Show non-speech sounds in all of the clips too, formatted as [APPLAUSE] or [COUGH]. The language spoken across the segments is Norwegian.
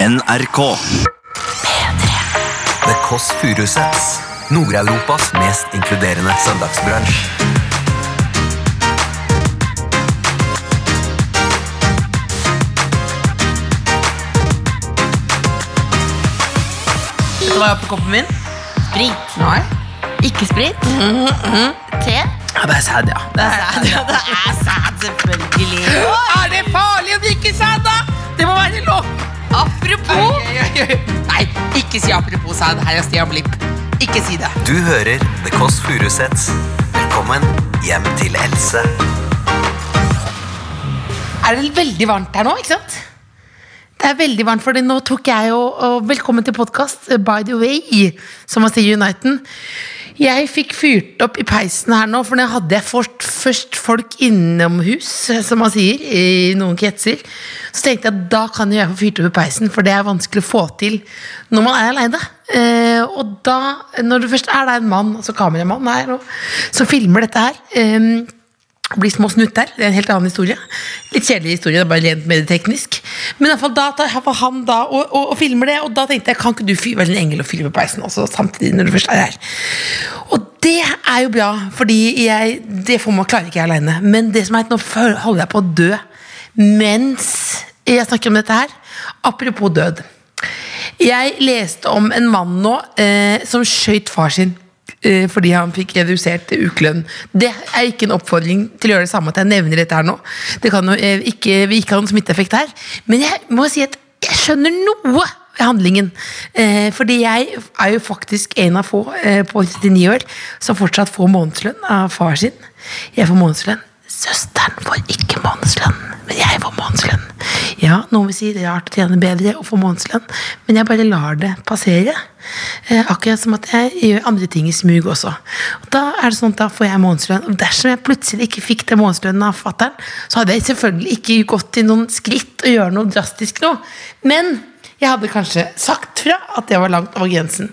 NRK. The Kåss Furuseths. Nord-Europas mest inkluderende søndagsbransj. Vet du hva jeg har på koppen min? Sprit. Ikke [LAUGHS] sprit. Te. det er sæd, ja. Det er sæd, [LAUGHS] ja. Det er sæd, selvfølgelig. Er det farlig å drikke sæd, da? Det må være lov! Apropos Oi, oi, oi. Nei, ikke si apropos sæd. Her er Stian Blipp. Ikke si det. Du hører The Kåss Furuseths. Velkommen hjem til Else. Er det veldig varmt her nå, ikke sant? Det er veldig varmt, for nå tok jeg jo og Velkommen til podkast, by the way, som man sier i Uniten. Jeg fikk fyrt opp i peisen her nå, for nå hadde jeg fort, først folk innomhus, eh, som man sier, i noen kretser. Så tenkte jeg at da kan jo jeg få fyrt opp i peisen, for det er vanskelig å få til når man er aleine. Eh, og da, når du først er der en mann, altså kameramann her, og, som filmer dette her eh, blir små snutter. Det er en helt annen historie. Litt kjedelig historie, det er bare rent medieteknisk. Men i alle fall da tar jeg for han da og, og, og filmer det, og da tenkte jeg kan ikke du fy- være en engel og filme peisen også samtidig når du først er her? Og det er jo bra, fordi jeg, det får man klarer ikke jeg aleine. Men det som er at nå føl- holder jeg på å dø mens jeg snakker om dette her. Apropos død. Jeg leste om en mann nå eh, som skøyt far sin eh, fordi han fikk redusert ukelønn. Det er ikke en oppfordring til å gjøre det samme at jeg nevner dette her nå. Det kan jo eh, ikke, vi ikke ha noen smitteeffekt her. Men jeg må si at jeg skjønner noe ved handlingen. Eh, fordi jeg er jo faktisk en av få eh, på 39 år som fortsatt får månedslønn av far sin. Jeg får månedslønn. Søsteren får ikke månedslønn, men jeg får månedslønn. Ja, noen vil si det er rart å tjene bedre og få månedslønn, men jeg bare lar det passere. Eh, akkurat som at jeg gjør andre ting i smug også. Og da er det sånn at da får jeg månedslønn. Og dersom jeg plutselig ikke fikk den månedslønnen av fatter'n, så hadde jeg selvfølgelig ikke gått til noen skritt og gjøre noe drastisk nå. Men jeg hadde kanskje sagt fra at det var langt over grensen.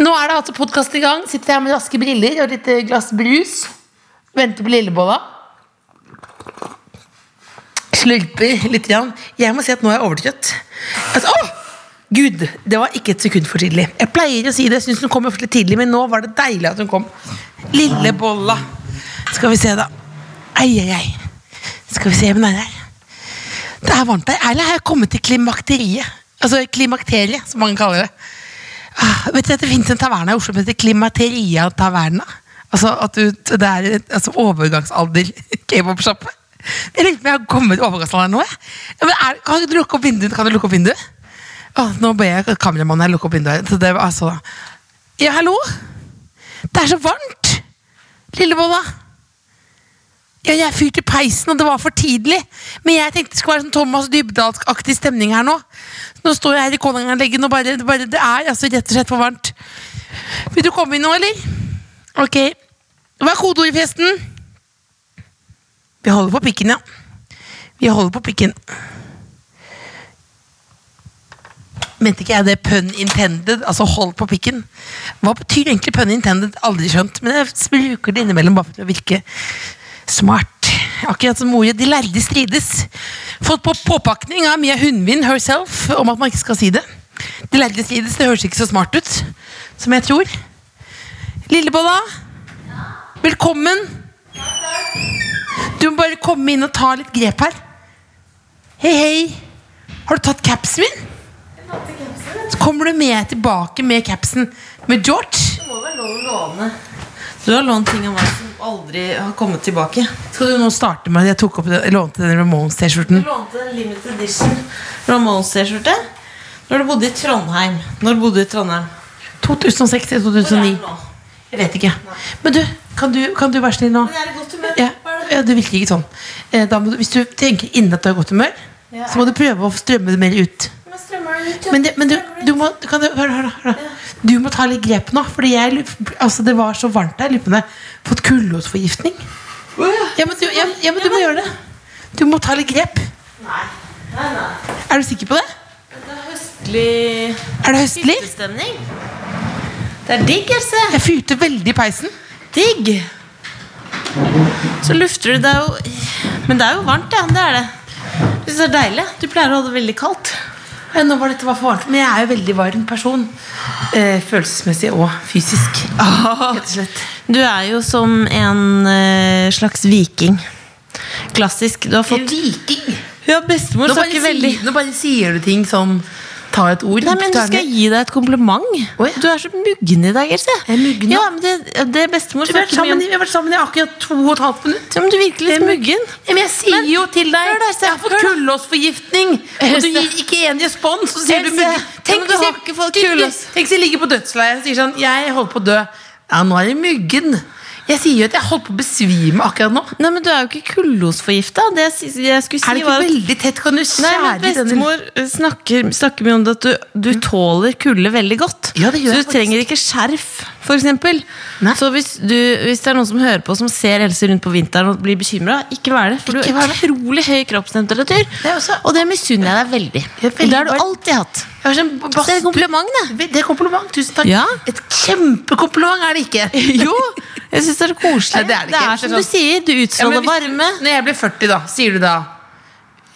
Nå er det altså podkast i gang. Sitter jeg med raske briller og et lite glass brus. Venter på lillebolla. Slurper litt. Grann. Jeg må si at nå er jeg overtrøtt. Altså, åh! Gud, det var ikke et sekund for tidlig. Jeg pleier å si det, jeg syns hun kommer ofte litt tidlig, men nå var det deilig at hun kom. Lille bolla. Skal vi se, da. Ai, ai, ai. Skal vi se hvem det er her. Det er varmt her. Erlend har kommet til klimakteriet. Altså klimakteriet, som mange kaller det. Ah, vet du at det finnes en taverna i Oslo som heter Klimateria Taverna? Altså at du, det er et- altså, overgangsalder kebabsjappe. Jeg lurer på om jeg har kommet til overgangsalderen nå. Jeg. Ja, men er, kan du lukke opp vinduet? Kan du lukke opp vinduet? Å, nå ber jeg kameramannen her lukke opp vinduet. her. Så det, var altså. Ja, hallo? Det er så varmt! Lillebolla. Ja, jeg fyrte i peisen, og det var for tidlig. Men jeg tenkte det skulle være sånn Thomas Dybdahl-aktig stemning her nå. Nå står jeg her i Konanganleggen, og bare, det bare, det er altså rett og slett for varmt. Vil du komme inn nå, eller? Ok. Hva er kodeordet, forresten? Vi holder på pikken, ja. Vi holder på pikken. Mente ikke jeg det pun intended? Altså hold på pikken. Hva betyr egentlig pun intended? Aldri skjønt. Men jeg bruker det innimellom bare for å virke smart. Akkurat som ordet 'de lærde strides'. Fått på påpakning av Mia Hundvin herself om at man ikke skal si det. De lærde strides, det høres ikke så smart ut som jeg tror. Lillebolla, velkommen. Du må bare komme inn og ta litt grep her. Hei, hei. Har du tatt capsen min? Så kommer du med tilbake med capsen med George. Det må være lov å låne. Du har lånt ting av meg som aldri har kommet tilbake. Skal du nå starte med at jeg tok opp det, lånte den Ramones-T-skjorten? Du lånte en limited edition Ramones-T-skjorte når du bodde i Trondheim. Når du bodde i Trondheim. 2006 eller Hvor er 2009? den nå? Jeg vet ikke. Men du, kan du, kan du være snill nå? Men jeg er i godt humør. Ja, Hva er det? ja, du virker ikke sånn. Eh, Da må du, hvis du tenker innen at du er i godt humør, Ja. så må du prøve å strømme det mer ut. Men strømmer den ut, ja. Men, det, men du, du må kan du, hør, hør, hør, du må ta litt grep nå, Fordi jeg, lurer- altså, det var så varmt der. Jeg lurer på om jeg har fått kullosforgiftning. Å, ja. Ja, men du, ja, ja, men du må gjøre det. Du må ta litt grep. Nei. Nei, nei. Er du sikker på det? Det er høstlig Er det høstlig? Hyttestemning. Det er digg, Else. Jeg fyrte veldig i peisen. Digg! Så lufter du deg jo Men det er jo varmt, ja. Det er det. Jeg synes det er deilig. Du pleier å ha det veldig kaldt. Ja, Nå var dette bare for varmt, men jeg er jo veldig varm person. Eh, følelsesmessig og fysisk. Rett og slett. Du er jo som en eh, slags viking. Klassisk. Du har fått Viking! Ja, bestemor Nå bare, snakker veldig sier, nå bare sier du ting som Ta et ord. Nei, men ta Nå en- skal jeg gi deg et kompliment. Å, ja. Du er så muggen i dag, Else. Jeg er muggen, ja. ja, men det, det er bestemor vi, har vært snakker sammen, mye om i- vi har vært sammen i akkurat to og et halvt minutt. ja, men Du virker litt muggen. Ja, men jeg sier Men, jo til deg hør da, Else, Jeg har fått hør da. kullåsforgiftning! Og du Else. gir ikke én respons, så sier Else, du muggen. ja, men du har jeg- ikke fått tenk- kullås. Tenk hvis jeg ligger på dødsleiet og sier sånn Jeg holder på å dø. Ja, nå er det muggen. Jeg sier jo at jeg holdt på å besvime akkurat nå. Nei, men Du er jo ikke kullosforgifta. Det jeg, si- jeg skulle si, Er det ikke var at veldig tett? Kan du Nei, skjære i men denne Bestemor eh, snakker, snakker mye om det at du, du tåler kulde veldig godt. Ja, det gjør så jeg du trenger ikke skjerf, f.eks. Nei. Så hvis, du, hvis det er noen som hører på som ser Else rundt på vinteren og blir bekymra, ikke vær det. For Ikke du vær har det. utrolig høy kroppstemperatur. Det er også- og det misunner jeg deg veldig. Jeg er veldig det har du varm. alltid [LAUGHS] hatt. Jeg har sånn Så det er et badstue- kompliment, det. Det er kompliment, tusen takk. Ja. Et kjempekompliment er det ikke. [LAUGHS] Jo, jeg syns det er koselig. Nei, det er det ikke. som du sier, du Ja, men utstråler varme. Hvis, når jeg blir 40, da, sier du da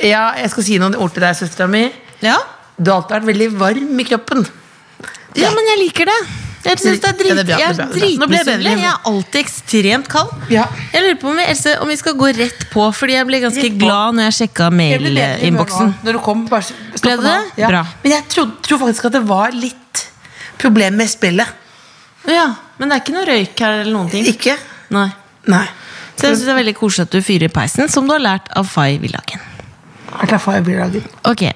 Ja, jeg skal si noen ord til deg, søstera mi. Ja. Du har alltid vært veldig varm i kroppen. ja, men jeg liker det. Jeg synes det er Ja, drit, det er bra, jeg det er bra, er det er bra. Nå ble jeg bedre dritmisunnelig. Jeg er alltid ekstremt kald. Ja. Jeg lurer på om vi, Else, om vi skal gå rett på, fordi jeg ble ganske Rett på. glad når jeg sjekka mailinnboksen. Når du kom, bare s- Ble slapp det av. det? Bra. Men jeg tror, tror faktisk at det var litt problem med spillet. Ja, men det er ikke noe røyk her eller noen ting. Ikke? Nei. Nei. Så jeg synes det er veldig koselig at du fyrer i peisen, som du har lært av Fay Villagen. Jeg er klar jeg blir laget. Ok, eh,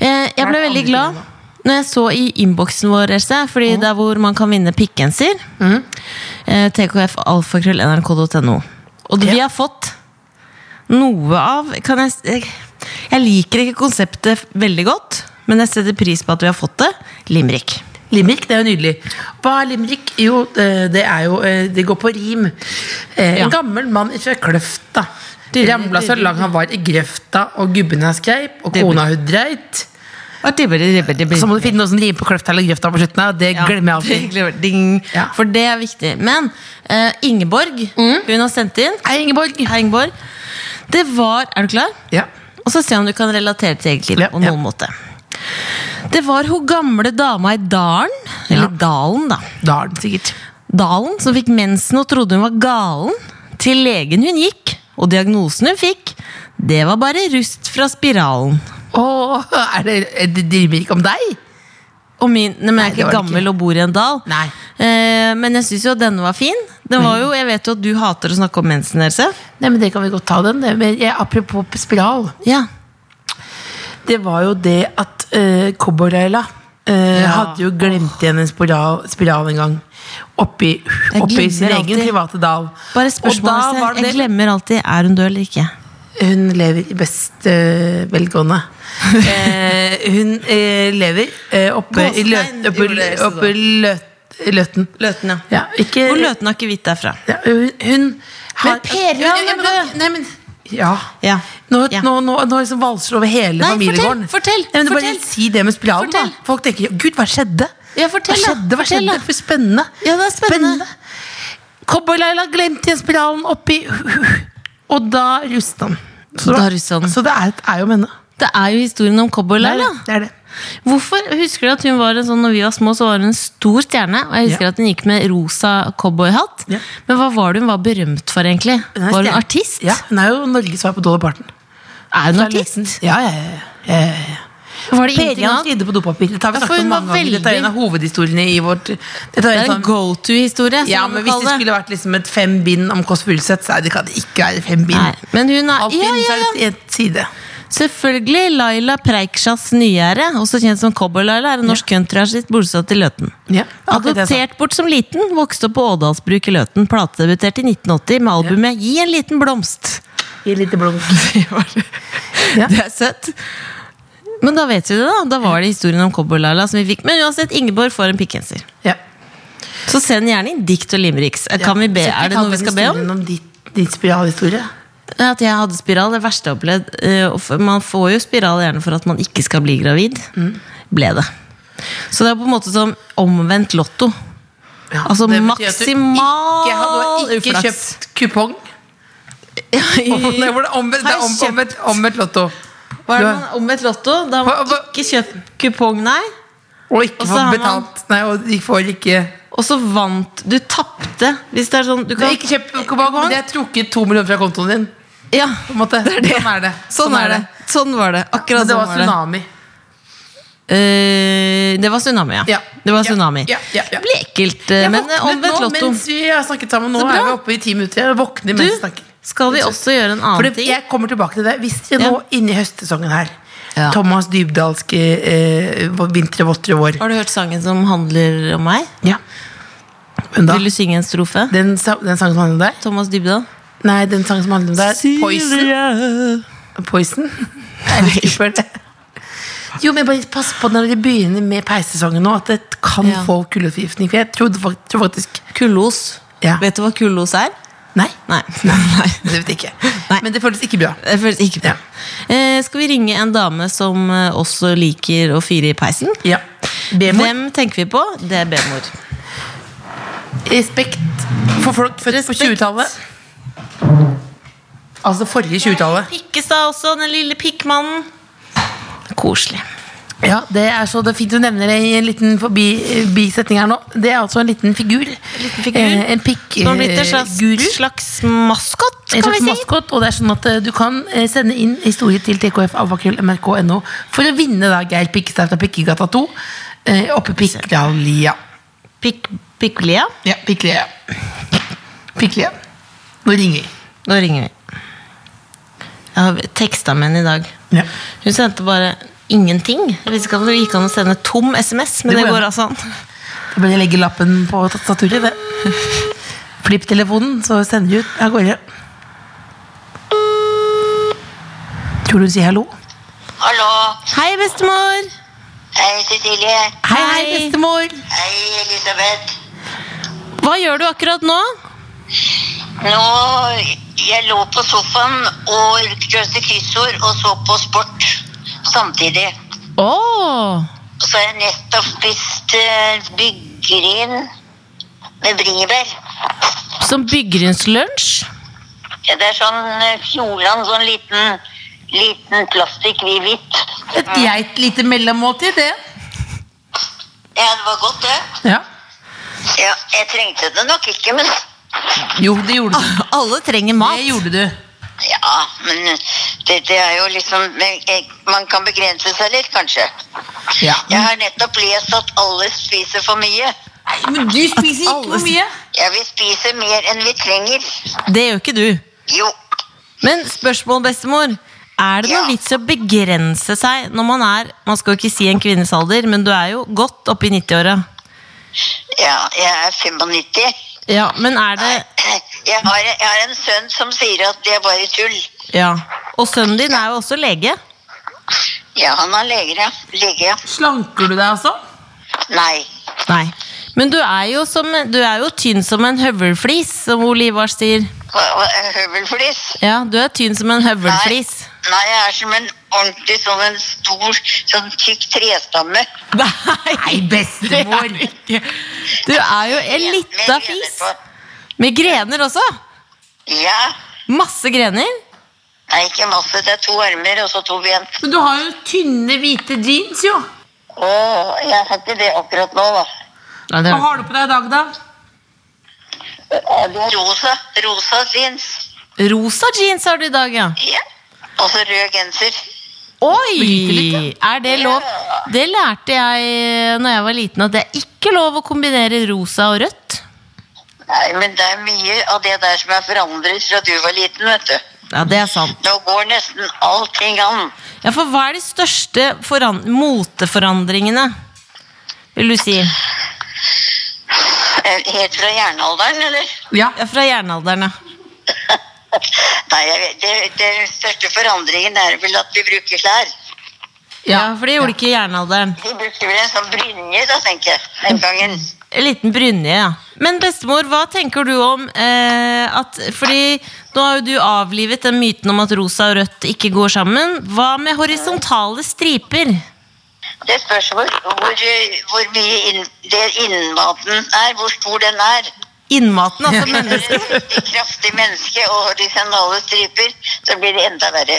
jeg ble Hva er det andre veldig glad når jeg så i innboksen vår, Else, fordi det er hvor man kan vinne pikkgenser. Eh, TKF alfakrøll nrk.no. Og vi Ja. har fått noe av kan jeg, s- jeg, jeg liker ikke konseptet veldig godt, men jeg setter pris på at vi har fått det. Limrik. Limerick, det er jo nydelig. Hva er limerick? Jo, eh, det er jo eh, Det går på rim. Eh, En Ja. gammel mann fra Kløfta. Dyrre, Ramla så dyrre, langt han var i grøfta, og gubben hans greip, og Det blir- kona hun dreit. Og det blir- det blir- det blir- Så må du finne noe som rimer på Kløfta eller Grøfta på slutten. her, Og det Ja, glemmer jeg alltid. det [LAUGHS] glemmer jeg. Ding. Ja. For det er viktig. Men eh, Ingeborg, hun har sendt inn. Hei, Ingeborg. Mhm. Hei, Ingeborg. Det var Er du klar? Ja. Og så se om du kan relatere til eget liv Ja, på noen ja. måte. Det var hun gamle dama i dalen, eller dalen da, Da har den sikkert. dalen som fikk mensen og trodde hun var galen, til legen hun gikk, og diagnosen hun fikk, det var bare rust fra spiralen. Å, er det, er det det rimer ikke om deg? Og min, nei, men Nei, jeg er det ikke var det gammel og bor i en dal. Nei. Eh, men jeg syns jo at denne var fin. Den var jo, Jeg vet jo at du hater å snakke om mensen, Else. Nei, men det kan vi godt ta den. det. Men jeg, apropos spiral. Ja. Det var jo det at uh, Cowboy-Laila eh, Ja. hadde jo glemt igjen en spiral, spiral en gang. Oppi, Jeg oppi glemmer sin egen alltid. private dal. Bare spørsmålet Og da var Else. Jeg det glemmer alltid er hun død eller ikke. Hun lever i best eh, [LAUGHS] velgående. Eh, hun eh, lever eh, oppe i Gåstein løt, oppe, gjorde det, så da. oppe i løt, Løten. Løten, Ja, ikke Hvor Løten har ikke hvitt derfra. ja, Hun, hun har Per, Ja, han er men- død. Nei, men Ja. Ja. Nå, Ja. nå, nå, nå liksom valser det over hele Nei, familiegården. fortell, fortell, Nei, men du fortell. Bare si det med spiralen, Fortell. da. Folk tenker 'Gud, hva skjedde?' Ja, fortell, hva da. skjedde? Hva Fortell, skjedde? da. For spennende. Ja, det er spennende. Cowboy-Laila glemte igjen spiralen oppi [LAUGHS] Og da rusta han. Så, Da rusta han. så det er, det er jo om henne. Det er jo historien om Cowboy-Laila. Det er det. Hvorfor husker du at hun var en sånn Når vi var små, så var hun en stor stjerne. Og jeg husker Ja. at hun gikk med rosa cowboyhatt. Ja. Men hva var det hun var berømt for, egentlig? Hun er Var hun stjerne. artist? Ja, hun er jo Norges svar på Dolly Parton. Er hun Fra artist? Løten. Ja, ja, ja, ja, ja, ja. Var det Per ingenting Jan annet? skridde på dopapir. Dette har vi Ja, for snakket om hun var mange ganger. Dette er en av hovedhistoriene i vårt Dette Det er er en en sånn go to-historie. Ja, men hvis det skulle vært liksom et fem bind om Kåss Furuseth, så er det kan det ikke være fem bind. Nei, men hun er Alt ja, bind, ja, så er ja. det et side. Selvfølgelig Laila Preiksjas Nygjerde, også kjent som Cowboy-Laila, er en norsk countryartist bosatt i Løten. Ja, akkurat det jeg sa. Adoptert bort som liten, vokste opp på Ådalsbruk i Løten. Platedebuterte i 1980 med albumet 'Gi en liten blomst'. I lite [LAUGHS] blomst. Ja. Det er søtt. Men da vet vi det, da. Da var det historien om Cowboy-Laila som vi fikk. Men uansett, Ingeborg får en pikkgenser. Ja. Så send gjerne inn dikt og limericks. Kan vi be, Så ikke er det kall noe vi den skal be om? historien ditt, ditt spiralhistorie. At jeg hadde spiral, det verste jeg har opplevd. Eh, og for- Man får jo spiral gjerne for at man ikke skal bli gravid. Ble det. Så det er på en måte som omvendt [LAUGHS] lotto. Ja, Altså det betyr at du maksimal ikke har- Du har ikke uflaks. [LAUGHS] kjøpt kupong. Nei, hvor det er omvendt, det er om- omvendt, omvendt lotto. Hva er det Du har- man omvendt lotto? Da har Hva- man hva- ikke kjøpt kupong, nei. Og ikke Og så få har man- betalt. Nei, og de får ikke Og så vant du tapte. Hvis det er sånn du Det kan, er ikke kjøpt kupong, men det er trukket to millioner fra kontoen din. Ja, På en måte. Sånn er det. sånn er det. Sånn var det. Men Akkurat det sånn var var det. tsunami. Eh, det var tsunami, ja. Ja. Det var Ja, tsunami. ja, ja, ja. Det ble ekkelt, eh, Jeg men våknet eh, omvendt nå, lotto. Mens vi har snakket sammen nå, Så bra. er vi oppe i ti minutter. Jeg våkner mens vi Du, snakker. skal vi også gjøre en For annen det, ting? jeg kommer tilbake til det. Hvis dere nå, inni høstsesongen her Ja. Thomas Dybdalske eh, Vintre, våtre vår. Har du hørt sangen som handler om meg? Ja. Men da, Vil du synge en strofe? den, sa- den sangen som handler om deg? Thomas Dybdahl? Nei, den sangen som handler om deg, Poison. Poison. Poison? [LAUGHS] Jeg er litt skuffet. Jo, men bare pass på når dere begynner med peissesongen nå, at det kan Ja. få kuldeforgiftning. For jeg trodde fakt- tror faktisk Kullos. Ja. Vet du hva kullos er? Nei, Nei. [LAUGHS] Nei. [LAUGHS] det vet jeg ikke. Nei. Men det føles ikke bra. Det føles ikke bra. Eh, skal vi ringe en dame som eh, også liker å fyre i peisen? Ja. B-mor. Hvem tenker vi på? Det er B-mor. Respekt for folk født Respekt. på 20-tallet. Altså forrige 20-tallet. Pikkestad også, den lille pikkmannen. Koselig. Ja, det er så det er fint du nevner det i en liten forbi, eh, bisetning her nå. Det er altså en liten figur. liten figur. Eh, en pikk Som har blitt en eh, slags, guru. slags maskot, En skal slags vi si. maskot, og det er sånn at eh, du kan eh, sende inn historie til tkfalfakrøll.nrk.no for å vinne da Geir Pikkestad fra Pikkegata 2 eh, oppe i Pikkelia. Pikk, pikklia. Ja, Pikkelia. Pikkelia. Nå ringer vi. Nå ringer vi. Jeg har teksta med henne i dag. Ja. Hun sendte bare ingenting. Jeg visste ikke at det gikk an å sende tom SMS, men Det det går går an. altså an. Da bør jeg legge lappen på tastaturet, det. Flipp telefonen, så sender du ut av gårde. Tror du hun sier hallo? Hallo. Hei, bestemor! Hei, Cecilie. Hei, hei, Hei. bestemor! Hei, Elisabeth. Hva gjør du akkurat nå? Nå, jeg lå på sofaen og løste kryssord og så på sport samtidig. Å! Og så har jeg nettopp spist eh, byggryn med bringebær. Som byggrynslunsj? Ja, Det er sånn eh, Fjordland, sånn liten, liten plastikk i hvitt. Et geit lite mellommåltid, det. Ja, det var godt, det. Ja. Ja, jeg trengte det nok ikke, men Jo, det gjorde du. Alle trenger mat. Det gjorde du. Ja, men det, det er jo liksom eh, Man kan begrense seg litt, kanskje. Ja. Jeg har nettopp lest at alle spiser for mye. Men du spiser ikke Alle- for mye. Ja, vi spiser mer enn vi trenger. Det gjør ikke du. Jo, Men spørsmål, bestemor. Er det noen Ja. vits i å begrense seg når man er Man skal jo ikke si en kvinnes alder, men du er jo godt oppe i 90-åra. ja, jeg er 95. Ja, men er det Jeg har, jeg har en sønn som sier at det er bare tull. Ja. Og sønnen din er jo også lege. Ja, han er lege, ja. Lege, ja. Slanker du deg altså? Nei. Nei. Men du er jo, som, du er jo tynn som en høvelflis, som Ole Ivar sier. Hva- hva- Høvelflis? Ja, du er tynn som en Nei. høvelflis. Nei, jeg er som en ordentlig sånn en stor, sånn tykk trestamme. Nei, bestemor. det er du ikke. Du er jo en Med lita grener fis. på. Med grener også. Ja. Masse grener. Nei, ikke masse. Det er to armer og så to ben. Men du har jo tynne, hvite jeans, jo. Å, jeg har ikke det akkurat nå, da. Nei, Hva har du på deg i dag, da? Ja, det er Rosa. Rosa jeans. Rosa jeans har du i dag, ja. Ja. Og så rød genser. Bryter Oi! litt, Er det lov? Det lærte jeg når jeg var liten, at det er ikke lov å kombinere rosa og rødt. Nei, men det er mye av det der som er forandret fra du var liten, vet du. Ja, det er sant. Nå går nesten allting an. Ja, For hva er de største foran moteforandringene, vil du si? Eh, Helt fra jernalderen, eller? Ja. Ja, Fra jernalderen, ja. Nei, jeg vet- det, det største forandringen er vel at vi bruker klær. ja for det gjorde ikke i jernalderen. Vi brukte vel en sånn brynje, da, tenker jeg, den gangen. En liten brynje, ja. Men bestemor, hva tenker du om eh, at Fordi nå har jo du avlivet den myten om at rosa og rødt ikke går sammen. Hva med horisontale striper? Det spørs hvor, hvor, eh, hvor mye inn, det innmaten er, hvor stor den er. Innmaten, [LAUGHS] altså Hvis det mennesket. er et kraftig menneske og horisontale striper, så blir det enda verre.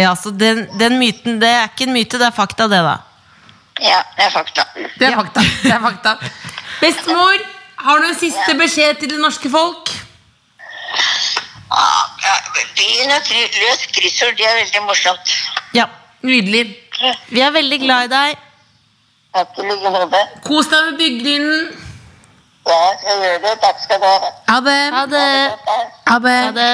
Ja, så den, den myten, det er ikke en myte, det er fakta, det, da. Ja, det er fakta. Det er fakta. [LAUGHS] Det er fakta. Bestemor, har du en siste beskjed til det norske folk? Ah, ja, Begynn å kry- løse kryssord, det er veldig morsomt. Ja. Nydelig. Vi er veldig glad i deg. Takk i like måte. Kos deg med bygdelynen. Ja, jeg skal gjøre det. Takk skal du ha. Ha det. Ha det. Ha det. Ha det.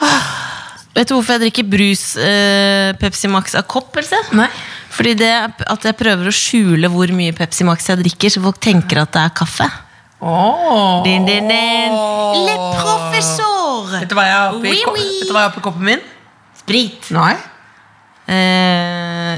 Ah, Vet du hvorfor jeg drikker brus eh, Pepsi Max av kopp? Else? Nei. Fordi det er p- at jeg prøver å skjule hvor mye Pepsi Max jeg drikker, så folk tenker at det er kaffe. Oh. Din, din, din. Le professor! Vet du hva jeg har oppi, Oui, ko- oui. Vet du hva jeg har oppi koppen min? Sprit. Nei. Eh,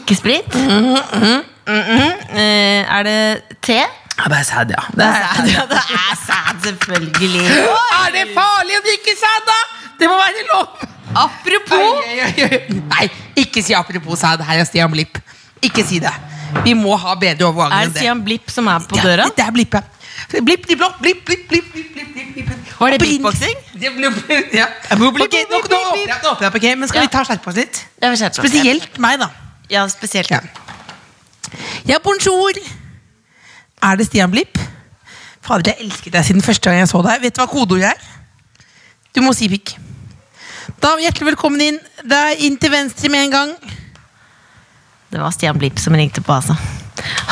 ikke sprit. Mm-hmm, Mm -mm. Eh, er det te? Ja, det er sæd, ja. Det er, sæd. Ja, [LAUGHS] det er sæd, selvfølgelig. er det farlig å drikke sæd, da? Det må være lov! Apropos Oi, oi, oi. Nei, ikke si apropos sæd. Her er Stian Blipp. Ikke si det. Vi må ha bedre overgang Er enn det det. Stian Blipp som er på Ja, døra? Det er Blipp, ja. Blipp, blipp, blopp, blipp, blipp, blipp, blipp, blipp, blipp, blipp. Var det Opprinnelig- beatboxing? Det ble- ble- Ja. Ok, nå nå åpner jeg- nå åpner jeg opp, ok? Men skal Ja. vi ta skjerpa oss litt? Ja, vi skjerper oss. Spesielt meg, da. Ja, spesielt. Ja. ja, bonjour! Er det Stian Blipp? Fader, jeg elsket deg siden første gang jeg så deg. Vet du hva kodeordet er? Du må si pikk. Da, Hjertelig velkommen inn. Det er inn til venstre med en gang. Det var Stian Blipp som ringte på, altså.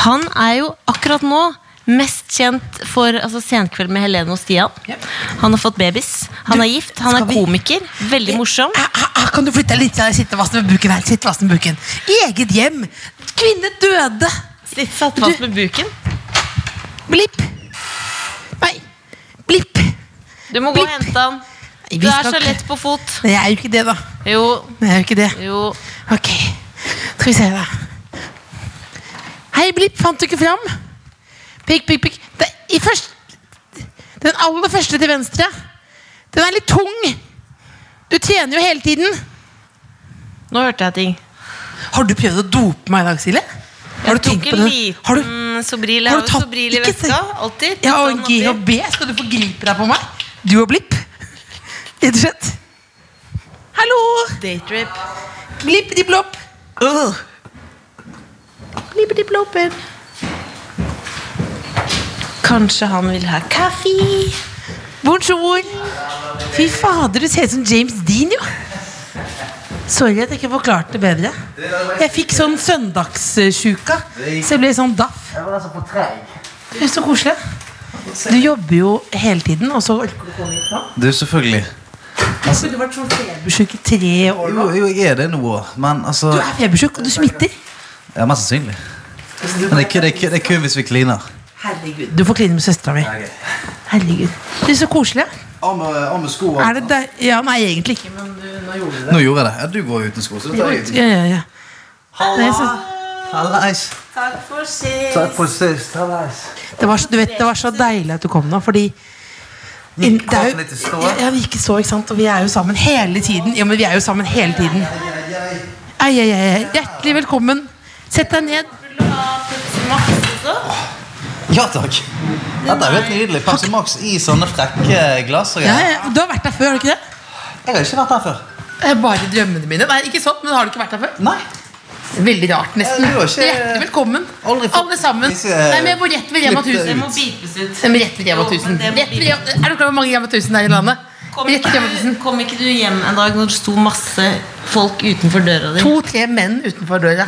Han er jo akkurat nå mest kjent for altså, Senkveld med Helene og Stian. Ja. Han har fått babys, han Du, er gift, han skal er vi- komiker. Veldig morsom. Ah, ah, ah, Kan du flytte deg litt? Jeg sitter fast med buken her. Sitt fast med buken. Eget hjem. Kvinne døde. Sitt satt fast med buken. Blipp. Nei. Blipp. Du må gå og Blipp. hente han. Nei, vi Du er skal så ikke- lett på fot. Nei, jeg er jo ikke det, da. Jo, Jeg er jo ikke det. jo. Ok, skal vi se da Hei Blipp, fant du ikke fram? Pikk, pikk, pikk Det er i først Den aller første til venstre Den er litt tung Du trener jo hele tiden Nå hørte jeg ting. Har du prøvd å dope meg i dag, Silje? Har Jeg du tok tenkt på en det? Har du, liten Sobril. Jeg har du har jo tatt- Sobril i ikke se- veska. Alltid. ja, Litt og sånn G og oppi. B Skal du forgripe deg på meg? Du og Blipp [LAUGHS] Rett og slett Hallo Daytrip. Blipp, dipp, lopp Øh. Kanskje han vil ha kaffe? Bonjour. Fy fader, du ser ut som James Dean, jo. Sorry at jeg ikke forklarte det bedre. Jeg fikk sånn søndagssjuka, så jeg ble sånn daff. Jeg var altså for treig. Det er Så koselig. Du jobber jo hele tiden, og så orker du å komme hit nå? Du, selvfølgelig. Altså, du har vært sånn febersjuk i tre år Jo, nå. jo, jeg er det nå òg, men altså Du er febersjuk, og du smitter. Ja, mest sannsynlig. Men det er kun- det er kun- det er kun hvis vi kliner. Herregud. Du får kline med søstera mi. Herregud. Det er så koselig. Av med, av med skoene. Er det deg? Ja, nei, egentlig ikke, men du, nå gjorde du det. Nå gjorde jeg det. Ja, du går uten sko. Så da tar jeg uten. Ja, ja, ja. Det er så- Hallais. Takk for sist. Takk for sist. Hallais. Det var, så- du vet, det var så deilig at du kom nå, fordi Gikk Det er jo- kroppen litt i stå? Ja, ja, vi gikk i stå, ikke sant? Og vi er jo sammen hele tiden. Ja, men vi er jo sammen hele tiden. Ei, ei, ei, ei. Hjertelig velkommen. Sett deg ned. Ja takk. Dette er jo helt nydelig. Pepsi Max i sånne frekke glass og Ja, greier. ja, du har vært der før, har du ikke det? Jeg har ikke vært her før. Det er bare drømmene mine. Nei, ikke sånn, men har du ikke vært der før? Nei. Veldig rart, nesten. Ja, du har ikke- Hjertelig velkommen, Aldri fått alle sammen. disse- Nei, men jeg bor rett ved Rema Klipp det 1000. må beepes ut. Men Rett ved Rema Jo, men 1000. det må Rett ved bli- Rema- Er du klar over hvor mange Rema 1000 det er i landet? Kom, Rett ved Rema 1000. kom ikke du hjem en dag når det sto masse folk utenfor døra di? To-tre menn utenfor døra.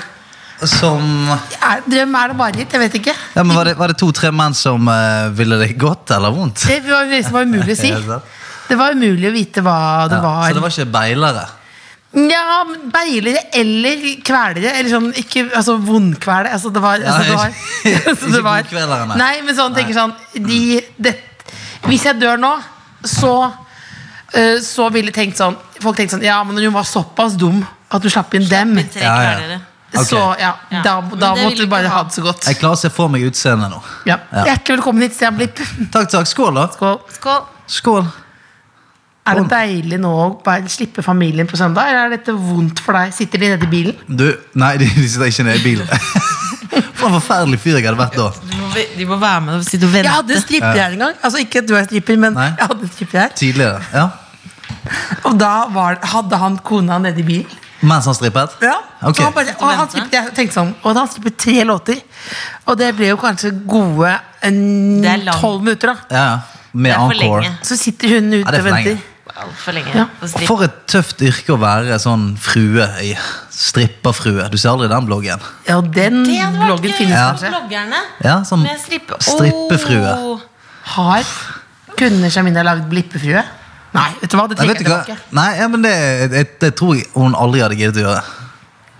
Som Er, drøm er det mareritt? Jeg vet ikke. ja, men Var det, var det to-tre menn som eh, ville det godt eller vondt? Det var, det var umulig å si. Ja, sant. Det var umulig å vite hva det Ja, var. Så det var ikke beilere? Ja, men beilere eller kvelere. Eller sånn, ikke altså, vondkvele. Altså, det var, Ja, altså, det var, [LAUGHS] ikke- altså, det var ikke vondkvelere, nei. Nei, men sånn tenker sånn de, det, Hvis jeg dør nå, så eh, Så ville tenkt sånn Folk tenkte sånn Ja, men hun var såpass dum at hun slapp inn dem. Tre Ja, ja. kvelere. Ok. Så ja, Ja. da, Men da det ville måtte ikke du bare ha. ha det så godt. Jeg klarer å se for meg utseendet nå. Ja. Ja. Hjertelig velkommen hit, Stian Blipp. Takk, takk. Skål, da. Skål. Skål. Skål. Er det deilig nå å bare slippe familien på søndag, eller er dette vondt for deg? Sitter de nede i bilen? Du, nei, [LAUGHS] de, de sitter ikke nede i [LAUGHS] bilen. For en forferdelig fyr jeg hadde vært da. Du må, de må være med og sitte og Jeg vente. hadde en stripper her en gang. Altså ikke at du er stripper, men Nei. jeg hadde en stripper her. Tidligere. ja Og da var, hadde han kona nede i bilen. Mens han strippet? Ok. Så han bare, og han Vente. strippet, jeg tenkte sånn, og han strippet tre låter. Og det ble jo kanskje gode en, Det er langt. tolv minutter, da. Ja, ja. Det Med er for encore. lenge. Så sitter hun ute det er og for lenge. venter. Altfor lenge. Ja. på strip. For et tøft yrke å være sånn frue i. Stripperfrue. Du ser aldri den bloggen. Ja, og den Det hadde vært Mm, bloggen gøy finnes for kanskje. bloggerne. Ja, sånn Med strippe. strippefrue. Åh. Har kunne Jamina lagd blippefrue? Nei, vet du hva, det Nei, trekker vet du hva? jeg tilbake. Nei, ja, men det, det, det tror jeg hun aldri hadde giddet å gjøre.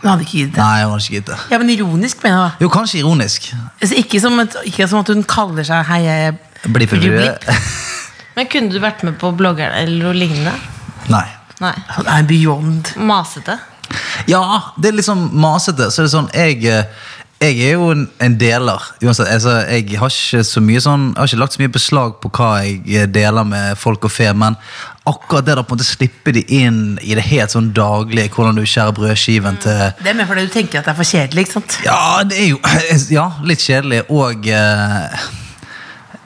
Hun hadde ikke gitt det. Nei, hun hadde ikke giddet det. Ja, men ironisk, mener jeg. da. Jo, kanskje ironisk. Altså, ikke, som et, ikke som at hun kaller seg Hei, jeg er Blippefrue. blipp. Men kunne du vært med på bloggerne eller noe lignende? [LAUGHS] Nei. Nei. Hun er beyond. Masete. Ja, det er liksom masete. Så er det sånn, jeg, eh, jeg er jo en, en deler. Uansett, altså, jeg har ikke så mye sånn Jeg har ikke lagt så mye beslag på hva jeg eh, deler med folk og fe, men akkurat det da på en måte slippe de inn i det helt sånn daglige, hvordan du skjærer brødskiven til Det er mer fordi du tenker at det er for kjedelig, ikke sant? Ja, det er jo eh, Ja, litt kjedelig. Og eh,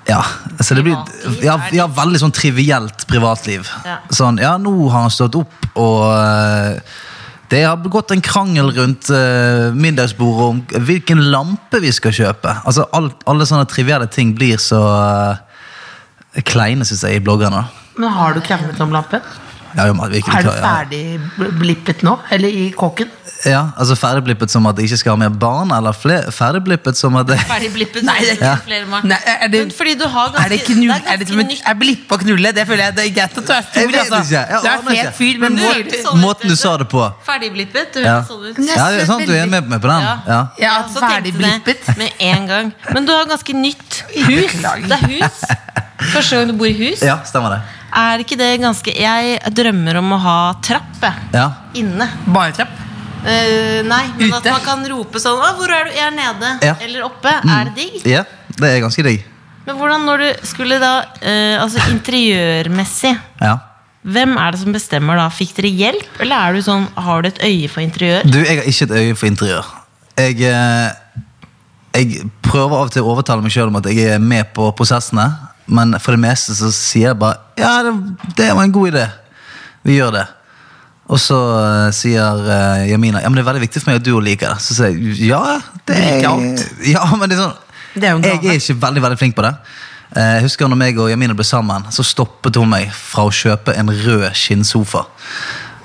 ja, altså det blir ja, ja, veldig sånn trivielt privatliv. Ja. Sånn, ja, nå har han stått opp, og eh, det har gått en krangel rundt eh, middagsbordet om hvilken lampe vi skal kjøpe. Altså, alt, Alle sånne trivielle ting blir så eh, kleine, syns jeg, i bloggerne. Men har du kranglet om lampen? Ja, jo, men vi- vi- Er du ja. ferdig bl- blippet nå? Eller i kåken? Ja, altså Ferdigblippet som at jeg ikke skal ha mer barn, eller fle- ferdigblippet som at jeg Ferdig blippet. Nei, det er ikke Ja. flere barn. Nei, er det- Men fordi du har ganske, Er det knull, det er er det som ganske et, er blippe og knulle? Det føler jeg det er greit at du er Jeg stor, vet altså. ikke. Jeg Du er aner fet ikke. fyr, men Men nå må- er nytt. du- Sånn ut, Måten du sa det på. Ferdigblippet. Du Ja. høres sånn ut. Ja, det er sant, du er med meg på den. Ja. Ja, Jeg også tenkte ferdig blippet. det Med en gang. Men du har ganske nytt hus. Beklager. Det er hus. [LAUGHS] Første gang du bor i hus. ja, stemmer det. Er ikke det ganske Jeg drømmer om å ha trapp jeg. Ja. inne. Bare trapp. Eh, nei, men at Ute. man kan rope sånn Å, 'Hvor er du?' 'Jeg er nede.' Ja. Mm. Eller oppe. Er det digg? ja, det er ganske digg. Men hvordan når du skulle da eh, Altså interiørmessig Ja. hvem er det som bestemmer da? Fikk dere hjelp, eller er du sånn, har du et øye for interiør? Du, jeg har ikke et øye for interiør. Jeg, eh, jeg prøver av og til å overtale meg sjøl om at jeg er med på prosessene, men for det meste så sier jeg bare Ja, det, det var en god idé. Vi gjør det. Og så eh, sier eh, Jamina ja, men det er veldig viktig for meg at du også liker det. Så sier jeg ja. det Du liker er, alt. [LAUGHS] Ja, men det er sånn Det er jo en Jeg gave. er ikke veldig veldig flink på det. Eh, Jeg husker når meg og Jamina ble sammen, så stoppet hun meg fra å kjøpe en rød skinnsofa.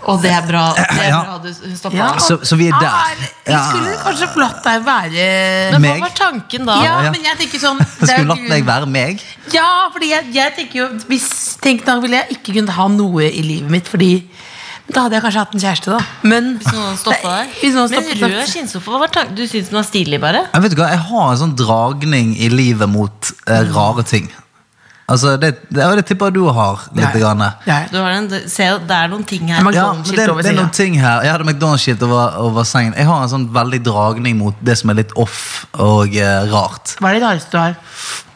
Og det er bra, det er Ja. bra du stoppa. Ja. Så, så vi er der. Ah, eller- jeg skulle kanskje latt deg være Men hva Meg? var tanken da? ja, ja. men jeg tenker sånn Jeg det er Skulle latt meg grunn- være meg. Ja, fordi jeg, jeg tenker jo hvis, Tenk da ville jeg ikke kunnet ha noe i livet mitt, fordi men Da hadde jeg kanskje hatt en kjæreste, da. Men Hvis noen stoppa Nei, deg? hvis noen Men stoppet rød meg- skinnsofa, hva var tanken? Du syns den var stilig, bare? Jeg vet ikke hva, jeg har en sånn dragning i livet mot eh, Mm. rare ting. Altså, det, det, ja, det tipper jeg du har litt. Nei. Grann. Ja. Du har en, se, det er noen ting her. Men- Ja, men det, McDonald's-skilt over det er senga. noen ting her. Jeg hadde McDonald's-skilt over, over sengen. Jeg har en sånn veldig dragning mot det som er litt off og eh, rart. Hva er det rareste du har?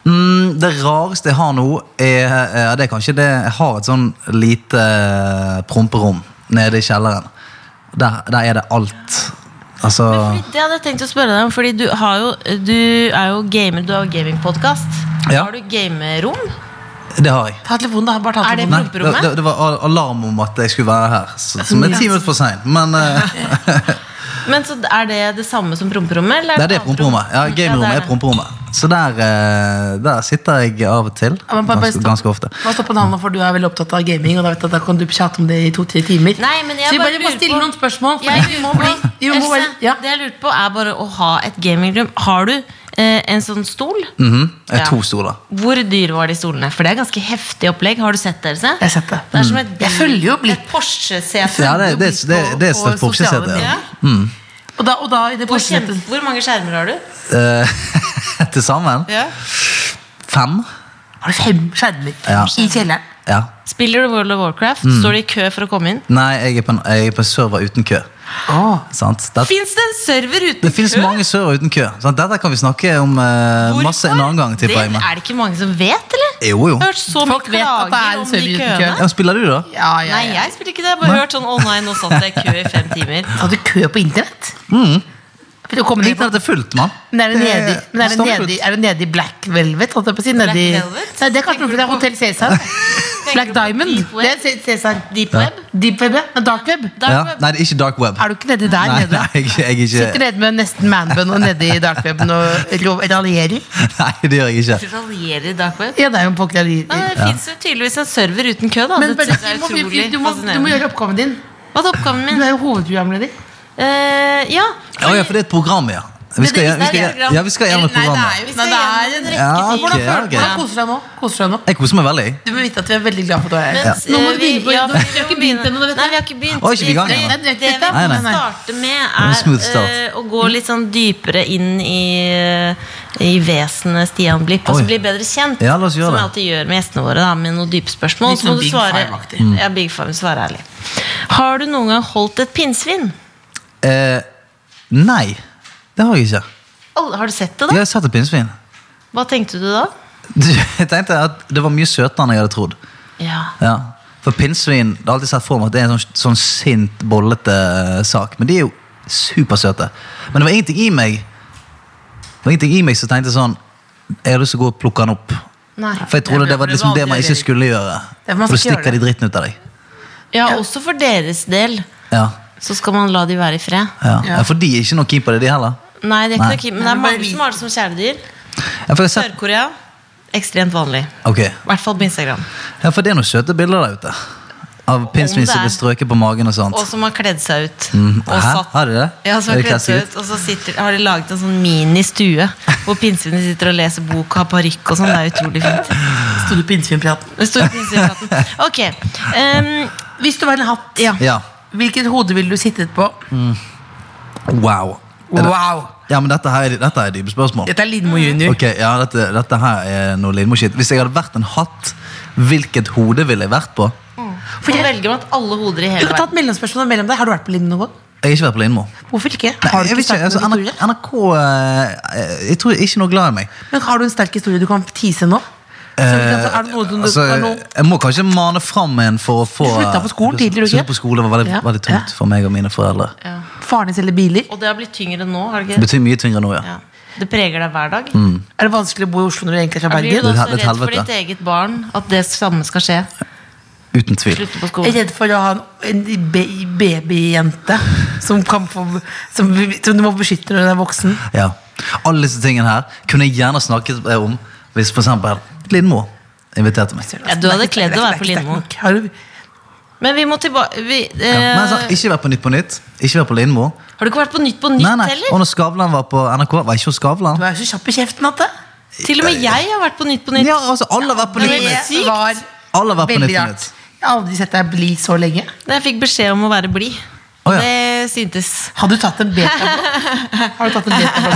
Mm, det rareste jeg har nå, er, eh, det er kanskje det Jeg har et sånn lite eh, promperom nede i kjelleren. Der, der er det alt. Altså Det hadde jeg tenkt å spørre deg om, fordi du, har jo, du er jo gamer, du har jo gamingpodkast. Ja. Har du gamerom? Det har jeg. Ta telefonen, da. Bare ta Er det telefonen. Nei, det, Promperommet? det, det var al- alarm om at jeg skulle være her, så, som er ti minutter for seint. Men [LAUGHS] eh, Men så Er det det samme som promperommet? eller det er det et annet rom? promperommet. Ja, Ja, det Gamerommet er er det. promperommet. Så der, eh, der sitter jeg av og til. Ja, men bare- bare Ganske, stopp. ganske ofte. Bare stopp en halv, for du er veldig opptatt av gaming, og da vet jeg at da kan du prate om det i to-tre timer. Nei, men så jeg vi bare bare, må lurer stille på- noen spørsmål. For Jeg vi lurer må på- bli, vi må Else, bare, ja. Det jeg lurte på, er bare å ha et gamingrom. Har du eh, en sånn stol? Mhm. Jeg har Ja. to stoler. Hvor dyr var de stolene? For det er ganske heftig opplegg. Har du sett det? Else? Jeg har sett det. Det er som et, Jeg følger jo blitt. et Porsche-sete. Ja, det, det, det, det er et slags på sosiale boksesete. Ja. Ja. Og da, og da i det Hvor, prosjektet- kjempe, hvor mange skjermer har du? Eh, til sammen fem. Har du fem skjermer Ja. i kjelleren? Ja. Spiller du World of Warcraft? Mm. Står du i kø for å komme inn? Nei, jeg er på en, jeg er på en server uten kø. Sant? Det, Fins det en server uten det finnes kø? mange server uten kø. Sant? Dette kan vi snakke om eh, Hvorfor? masse en annen gang, tipper jeg. Det men- er det ikke mange som vet, eller? Jo, jo. Jeg har hørt så mye Folk vet at det er klager en om server de uten kø. køene. Ja, spiller du, da? Ja, ja, Nei, ja. [LAUGHS] jeg spiller ikke det. Jeg har bare hørt sånn 'Å nei, nå satt jeg i kø i fem timer'. Hadde du kø på internett? til å komme ned på Internett er fullt, mann. men er det nede, i- men er det stappfullt. nede, i- er det nede i black velvet? Holdt jeg på å si. Nede i, Black Velvet? nei, det er kanskje noe fordi det er Hotell [LAUGHS] Cæsar. Black du på Diamond. Deep Det Web? er Ce- Cæsar. Deep web? Deep Web, ja. Men Dark Web. ja. Dark web? Nei, det er ikke dark web. Er du ikke nedi der Nei, nede? nei, jeg, jeg, er Sitter ikke, nede med nesten manbun og nedi dark weben og ro- raljerer? [LAUGHS] nei, det gjør jeg ikke. Raljerer i dark web? Ja, det er jo en folk Ja, raljerer. det fins jo tydeligvis en server uten kø, da. Men det synes Bernadette, jeg er du, må, du, må, utrolig du må fascinerende. gjøre oppgaven din. Hva er oppgaven Du min? er jo hovedprogramleder. Eh, ja. Ja, ja, for det er et program, ja. Vi skal, vi skal, ja, vi skal gjennom Nei, det er programmet. jo Nei, det er en rekke Ja, ting. ok, Hvordan ja, føler du ok. Hvordan koser du deg nå? Koser du deg nå? Jeg koser meg veldig. jeg. Du bør vite at vi er veldig glad for at du er her. Men, Nå må eh, du begynne på ja, Vi har ikke begynt ennå. vet Nei, vi du. har ikke begynt. Å, ikke vi i gang ennå? Det vi Nei, nei, nei. må starte med, var smooth er start. eh, å gå litt sånn dypere inn i, eh, i vesenet Stian Blipp. Og Oi. så bli bedre kjent. Ja, la oss gjøre som det. jeg alltid gjør med gjestene våre, da, med noen dype spørsmål. Litt Så må sånn du Big svare, Five-aktig. Mm. ja, big five, svare ærlig. Har du noen gang holdt et pinnsvin? Eh, nei, det har jeg ikke. Alle- Har du sett det, Jeg da? har sett et pinnsvin. [LAUGHS] Hva tenkte du da? Du, Jeg tenkte at det var mye søtere enn jeg hadde trodd. Ja. Ja. For pinnsvin det har alltid sett for meg at det er en sånn, sånn sint, bollete eh, sak. Men de er jo supersøte. Men det var ingenting i meg Det var ingenting i meg som tenkte sånn Jeg har lyst til å gå og plukke den opp. Nei. For jeg trodde Nei, det for var det liksom var det man aldri ikke det. skulle gjøre. Ja, for man For da skal ikke gjøre stikker de dritten ut av deg. ja, også for deres del. Ja, Så skal man la de være i fred. ja. ja For de er ikke noe keen på det, de heller. Nei, det er ikke Nei. noe kim, men det er mange som har det som kjæledyr. Ja, for, jeg har sett, Sør-Korea ekstremt vanlig. ok. I hvert fall på Instagram. ja, for det er noen søte bilder der ute. Av pinnsvin det som er. blir strøket på magen og sånt. Og som har kledd seg ut. Mm, Og hæ? satt- Har de det? Ja, som Er har det kledd seg klesstilt? ut Og så sitter, har de laget en sånn mini-stue hvor pinnsvinet sitter og leser bok og har parykk og sånn. Det er utrolig fint. Sto du på innsvinpraten? Det står i pinnsvinpraten. Ok. ehm, Hvis du var en hatt, ja. Ja. hvilket hode ville du sittet på? Mm. Wow. Er det- Wow! Ja, men dette her, er- dette er dype spørsmål. Dette er Lindmo junior. Ok, ja, dette, dette her er noe Lindmo-shit. Hvis jeg hadde vært en hatt, hvilket hode ville jeg vært på? For da velger man at alle hoder i Du hele kan ta et verden mellomspørsmål mellom deg. Har du vært på Lindmo noen gang? Jeg har ikke vært på Lindmo. Hvorfor ikke? Nei, Har du ikke jeg vet ikke, sterke altså, noen NRK, historier? NRK eh, Jeg tror jeg er ikke noe glad i meg. Men har du en sterk historie du kan tease nå? Så vi kan, er det noe som du, Eh, altså, er det noe, jeg må kanskje mane fram en for å få Du slutta på skolen tidlig, du ikke? Sluttet på skolen var veldig, Ja. veldig tungt Ja. for meg og mine foreldre. Faren din selger biler? Og det har blitt tyngre nå, har det Det ikke? betyr mye tyngre nå, ja. Ja. Det preger deg hver dag. Er det vanskelig å bo i Oslo når du egentlig er fra Blir du Bergen? Det da er så et redd for helvete. ditt eget barn at det samme skal skje? Uten tvil. Slutte på Jeg er skolen. redd for å ha en, en be, babyjente som, kan få, som, som du må beskytte når hun er voksen. Ja. Alle disse tingene her kunne jeg gjerne snakket eh, om hvis for eksempel Lindmo inviterte meg. Ja, du hadde kledd å være på Lindmo. Har du, Men vi må tilbake vi, Ja. eh, Men sånn, ikke vært på Nytt på Nytt. Ikke vært på Lindmo. Har du ikke vært på Nytt på Nytt Nei, nei. Og heller? når Skavlan var på NRK, var jeg ikke hos Skavlan? du er så kjapp i kjeften, Atte. Til og med jeg har vært på Nytt på Nytt. Ja, altså, alle har vært på Det er Nytt på Nytt. sykt. var Alle har vært på veldig Nytt på rart. Nytt. Jeg har aldri sett deg bli så lenge. Da jeg fikk beskjed om å være blid. Å, ja. Det syntes. Har du tatt en beta? Har du tatt en beta?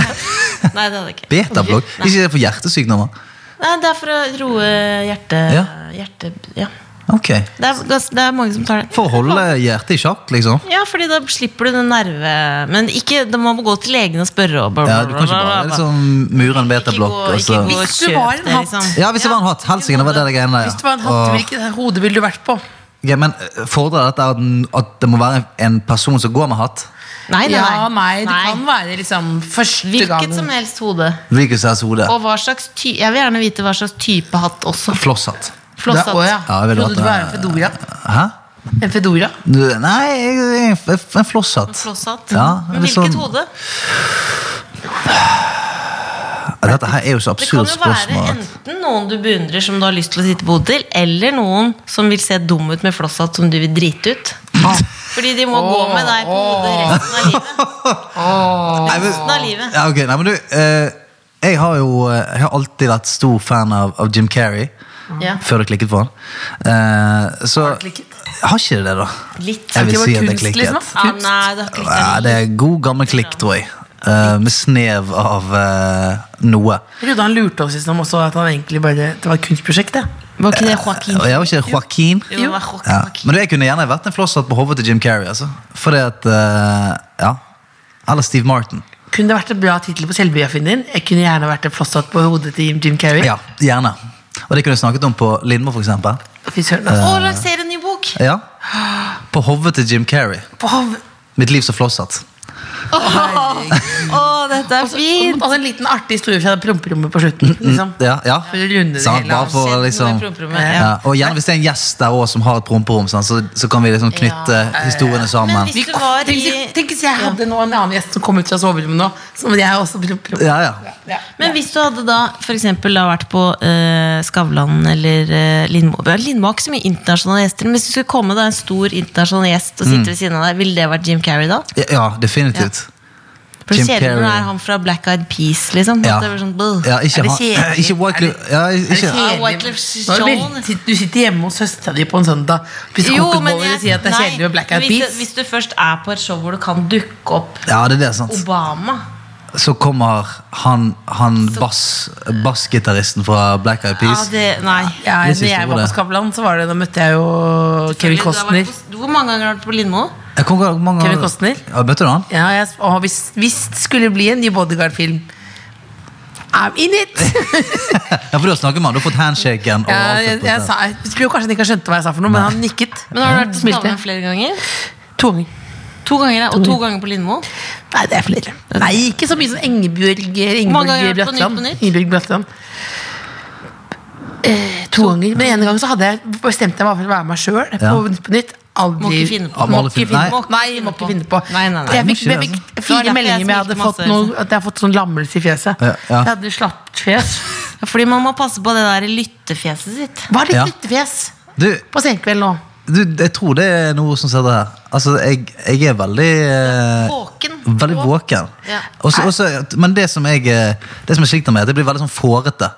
Nei, det hadde jeg [LAUGHS] ikke. Betablokk? Ikke det for hjertesykdommer? Nei, det er for å roe hjertet Ja. hjerte, ja. Ok. det, er, gans- det er mange som tar det. For å holde hjertet i sjakk, liksom? Ja, fordi da slipper du den nerve... Men ikke, da må man gå til legen og spørre. Og bla, Ja, bla, du kan altså. bla, ikke bla, bare bla. liksom mure en Ikke betablokk, gå- og så ikke gå og Hvis du kjøp var en det, liksom. hatt. Ja, hvis det var en hatt. Helsike, det var det det greiene der. Hvis du var en hatt, Åh. hvilket hode ville du vært på? Ok, men eh, fordrer dette at, den- at det må være en person som går med hatt? Nei, nei, Ja, nei, det nei. kan være liksom første Hvilket gang. som helst hode. Hvilket slags hode? Og hva slags ty jeg vil gjerne vite hva slags type hatt også. Flosshatt. Det er- Flosshatt. å, ja. Ja, jeg ville Trodde hatt du en- var en fedora? Hæ? En fedora? Du, nei, jeg- jeg- en flosshatt. Flosshatt. Ja, Men litt sånn- hvilket hode? Ja, Dette her er jo så Det kan jo absurd være spørsmål. at- enten noen du beundrer som du har lyst til å sitte på hotell, eller noen som vil se dum ut med flosshatt som du vil drite ut. Ah. Fordi de må gå med deg på hodet resten av livet. [LAUGHS] Resten av livet. Ja, ok, nei, men du eh, Jeg har jo eh, jeg har alltid vært stor fan av, av Jim Carrey Mm. Ja. Før du klikket på han Eh, så, du klikket? Har ikke det det da? Litt. Jeg Det vil var si at jeg kunst, klikket liksom. Ah, nei, det har klikket ja, Det er god gammel klikk, tror jeg Eh, Med snev av eh, noe Jeg trodde han lurte oss liksom også at han egentlig bare Det var et kunstprosjekt, det. Var ikke det Og Joaquin? jeg var ikke Joaquin Jo, det var ja. Joaquin. Men du, jeg kunne gjerne vært en flosshatt på hovedet til Jim Carrey altså. Fordi at, eh, ja Eller Steve Martin Kunne det vært en bra tittel på selvbiografien din? Jeg kunne gjerne vært en flosshatt på hodet til Jim Carrey. Ja, gjerne Og det kunne jeg snakket om på Lindmo for eksempel Fy søren, altså. Og lanserer en ny bok! Ja På hovedet til Jim Carrey På hav- Mitt liv som flosshatt. Å, Å, dette er Og så og fint! så altså, en liten artig historie fra promperommet på Mm, slutten. Liksom. Ja, ja. For å runde det Sant, hele bare av. for å liksom Kjent noe i promperommet, ja. ja. Og gjerne hvis det er en gjest der også som har et promperom, sant, så, så kan vi liksom knytte historiene Men sammen. hvis du var Tenk, i hvis- tenk hvis jeg hadde nå en annen gjest som kom ut fra soverommet nå. Så må jeg også promperommet. Ja, ja. Ja. Men hvis du hadde da for eksempel, da vært på eh, Skavlan eller eh, Lindmo ja, Lindmo har ikke så mye internasjonale gjester, men hvis du skulle komme da en stor internasjonal gjest og Mm. sitte ved siden av deg, ville det vært Jim Carrey da? Ja, ja definitivt. For Jim det kjedelig når det Carrey. er han fra Black Eyed Peas, liksom. Ja. At det blir sånn, bleh. Ja, ikke Er det han kjedelig? [CLEARS THROAT] Ikke Wycliffe ja, ikke, kjedelig? Kjedelig. Ah, Wycliffe Nå er det Jean. veldig- sitt- Du sitter hjemme hos søstera di på en søndag spiser kokosboller og sier at det er nei, kjedelig med Black Eyed hvis du- Peas. Hvis du først er på et show hvor du kan dukke opp ja, det er det, sant. Obama Så kommer han, han bass, bassgitaristen fra Black ja, Eyed Peas. det, Nei. Ja, Jeg synes når jeg det var var på det. Skavlan, så var det, da møtte jeg jo Kevin Du har vært Costner. på- Hvor mange ganger har du vært på Lindmo? Jeg kom, hvor mange Kevin ganger- Costner? Ja, møtte du han? Ja, jeg, og hvis, hvis det skulle bli en ny Bodyguard-film I'm in it! Ja, for da snakker man. Du har fått handshaken. [LAUGHS] Og Ja, alt jeg, det på jeg, sted. sa, jeg tror kanskje han ikke skjønte hva jeg sa, for noe men han nikket. Men har du vært på Smilte. Skavlan flere ganger? To ganger. To ganger, ja, Og to ganger på Lindmo? Nei, det er flere. Nei, ikke så mye som Ingebjørg mange ganger Ingebjørg har du vært på Nytt på Bratland. Nytt? Ingebjørg Bratland. Eh, to ganger. Men en gang så hadde jeg bestemte jeg meg for å være meg sjøl Ja. på Nytt på Nytt. Aldri, Må ikke finne på. Ja, må Må alle ikke finne- finne nei. på. Nei, må ikke finne på. Nei, nei, nei. Jeg Må fikk, ikke jeg det, fikk Det var fire derfor jeg meldinger om jeg hadde smilte fått, masse, noe, liksom. at jeg har fått sånn lammelse i fjeset. Ja, ja. Jeg hadde slapt fjes. Ja, Fordi man må passe på det der lyttefjeset sitt. Var litt Ja. lyttefjes Du, på senkveld nå. du, jeg tror det er noe som sitter her. Altså, jeg, jeg er veldig eh, Våken. Veldig våken. Ja. Også, også, men det som jeg eh, Det som jeg sliter med, er at jeg blir veldig sånn fårete.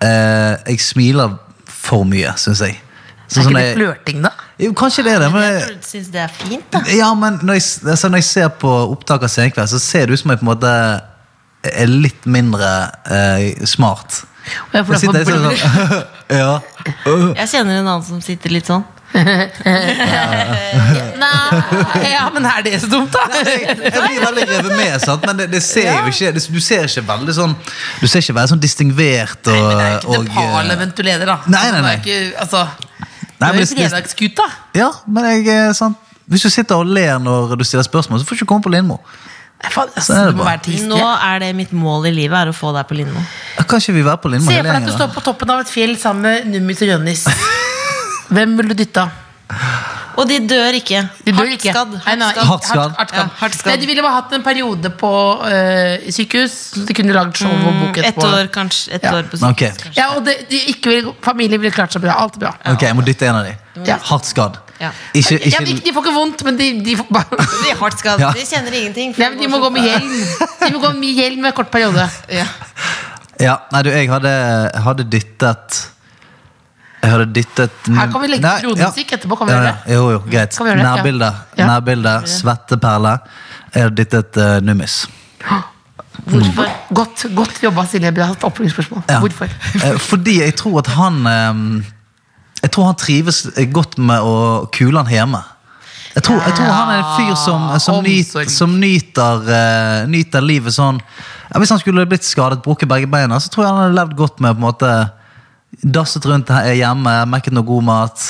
Eh, jeg smiler for mye, syns jeg. Sånn Er som ikke det jeg- flørting, da? jo, kanskje det er det, men Jeg jeg- tror du syns det er fint, da. Ja, men når jeg, altså når jeg ser på opptak av Senkveld, så ser det ut som jeg på en måte er litt mindre eh, smart. Og jeg får Jeg sitter derfor der blir- sånn [LAUGHS] Ja. Jeg kjenner en annen som sitter [LAUGHS] litt sånn. Nei, [LAUGHS] ja, men er det så dumt, da? Jeg blir veldig revet med, sant? men det, det ser jo ikke det, Du ser ikke veldig sånn Du ser ikke veldig sånn distingvert Det og er jo ikke og, eh, Nepal-event du leder, da. Nei, nei, nei. Det er ikke, altså, Nei, det men er jo det- det- fredagsgutta. Ja, men jeg eh, sant? Hvis du sitter og ler når du stiller spørsmål, så får du ikke komme på Lindmo. Nei, faen, altså, Sånn er det du må bare. være til Nå historie. er det mitt mål i livet, er å få deg på Lindmo. Kan ikke vi være på Lindmo Se for hele deg at du gjengen? da? står på toppen av et fjell sammen med Nummis og [LAUGHS] Jonis. Hvem ville du dytta? Og de dør ikke. De dør Hardt ikke. skadd. Nei, nei, Hardt hardt skadd. skadd. hardt skadd. Ja, hardt skadd. Nei, du ville bare hatt en periode på eh, sykehus, så du kunne lagd show og bok Mm, Et etterpå. år, kanskje. Et Ja. år på sykehus, Ok. kanskje. Ja, og det, de ikke ville, familien ville klart seg bra. Alt er bra. Ok, Jeg må dytte en av dem. Ja. Hardt skadd. Ja. Ikke, Ja, de, ikke de får ikke vondt, men de, de får bare De er hardt skadd. Ja. De kjenner ingenting. for Nei, men De må gå med hjelm. De må gå med hjelm med kort periode. Ja. Ja, nei du, jeg hadde, jeg hadde dyttet Jeg hadde dyttet Her kan vi legge Nei, kronemusikk etterpå, kan vi ja, gjøre ja. Jo, jo, greit Kan vi gjøre det? Ja. Nærbilde, Ja. nærbilde, svetteperle Jeg hadde dyttet eh, nummis Hvorfor? Godt, godt jobba, Silje. Bra oppfølgingsspørsmål. Ja. Hvorfor? [LAUGHS] Eh, Fordi jeg tror at han eh, Jeg tror han trives godt med å kule han hjemme jeg tror, jeg tror han er en fyr som, eh, som, nyt, omsorg. som nyter, eh, nyter livet sånn ja, Hvis han skulle blitt skadet, bruket begge beina Så tror jeg han hadde levd godt med på en måte Dasset rundt her hjemme, mekket noe god mat